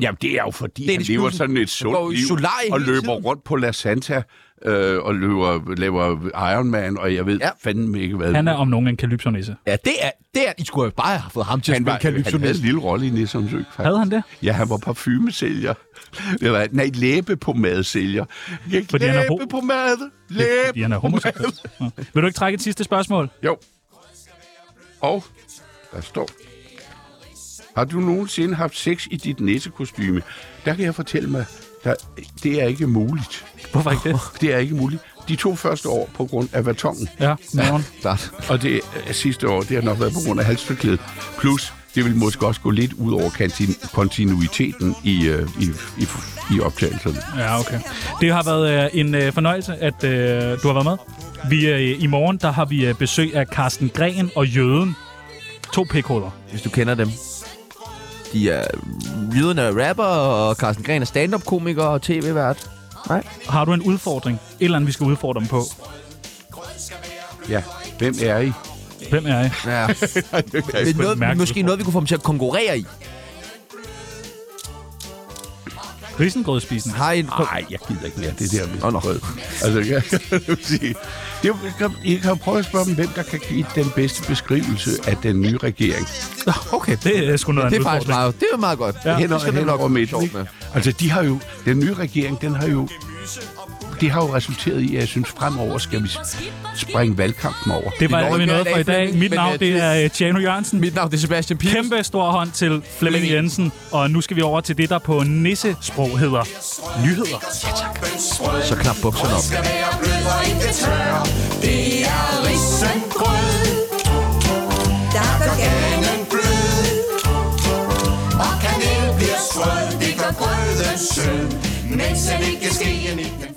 Speaker 4: Jamen, det er jo fordi,
Speaker 1: Dennis
Speaker 4: han lever
Speaker 1: Knudsen.
Speaker 4: sådan et
Speaker 1: Han går
Speaker 4: sundt
Speaker 1: i
Speaker 4: liv,
Speaker 1: solarie
Speaker 4: og
Speaker 1: hele
Speaker 4: løber
Speaker 1: tiden.
Speaker 4: rundt på La Santa, øh, og løber, laver Ironman, og jeg ved
Speaker 1: Ja.
Speaker 4: ja. fandme ikke, hvad
Speaker 2: Han er om nogen en kalypsonisse.
Speaker 1: Ja, det er, det er, I skulle have bare have fået ham til at
Speaker 4: han,
Speaker 1: spille
Speaker 4: var, han havde en
Speaker 1: kalypsonist.
Speaker 4: lille rolle i Nissums Ø, faktisk.
Speaker 2: Havde han det?
Speaker 4: Ja, han var parfumesælger. Eller, nej, læbepomadesælger. Ikke
Speaker 2: Fordi han er ho-
Speaker 4: læbepomade.
Speaker 2: Fordi han er homoseksuel.
Speaker 4: Læbepomade.
Speaker 2: Nå. Vil du ikke trække et sidste spørgsmål?
Speaker 4: Jo. Og der står... Har du nogensinde haft sex i dit næsekostyme? Der kan jeg fortælle mig, der, det er ikke muligt.
Speaker 2: Hvorfor ikke det?
Speaker 4: Det er ikke muligt. De to første år på grund af vatongen,
Speaker 2: Ja, morgen.
Speaker 4: og det øh, sidste år, det har nok været på grund af halsforklædet. Plus, det vil måske også gå lidt ud over kontin- kontinuiteten i, øh, i, i, i optagelserne.
Speaker 2: Ja, okay. Det har været øh, en øh, fornøjelse, at øh, du har været med. Vi, øh, I morgen der har vi øh, besøg af Carsten Gren og Jøden. To pikhoveder.
Speaker 1: Hvis du kender dem. De er... Jyden er rapper, og Carsten Gren er stand-up-komiker og tv-vært.
Speaker 2: Har du en udfordring? Et eller andet, vi skal udfordre dem på.
Speaker 4: Ja, hvem er I?
Speaker 2: Hvem er I?
Speaker 1: Ja. det er noget,
Speaker 2: mærkeligt
Speaker 1: måske
Speaker 2: udfordring.
Speaker 1: noget, vi kunne få dem til at konkurrere i.
Speaker 2: Risengrødspisen.
Speaker 1: Har I en...
Speaker 4: Nej, jeg gider ikke mere det der med
Speaker 1: Åh, nå.
Speaker 4: brød. Altså, jeg, jeg vil sige, det er, jo- I kan jo prøve at spørge dem, hvem der kan give den bedste beskrivelse af den nye regering.
Speaker 1: Okay,
Speaker 2: Ah, Det er sgu noget af en
Speaker 1: det er faktisk
Speaker 2: udfordring.
Speaker 1: meget, det er meget godt.
Speaker 2: Ja.
Speaker 1: Ja.
Speaker 4: Hen
Speaker 1: Det
Speaker 4: og
Speaker 1: skal vi
Speaker 4: hen
Speaker 1: nok
Speaker 4: over
Speaker 1: komme
Speaker 4: midten,
Speaker 1: sjovt med.
Speaker 4: ikke? Altså, de har jo, den nye regering, den har jo, det har jo resulteret i, at jeg synes, fremover skal vi springe valgkampen over.
Speaker 2: Det var alt, vi
Speaker 1: ikke
Speaker 2: nåede
Speaker 1: mere
Speaker 2: for i
Speaker 1: i dag,
Speaker 2: dag.
Speaker 1: Flemming,
Speaker 2: Mit
Speaker 1: men,
Speaker 2: navn
Speaker 1: øh,
Speaker 2: det
Speaker 1: det-
Speaker 2: er øh, Tjano Jørgensen.
Speaker 1: Mit navn det er Sebastian Pils.
Speaker 2: Kæmpe stor hånd til Flemming
Speaker 1: Flemming.
Speaker 2: Jensen. Og nu skal vi over til det, der på nissesprog hedder nyheder.
Speaker 1: Så knap bukserne op.
Speaker 5: Kanel bliver sprød, det gør grøden sød, mens han ikke skal i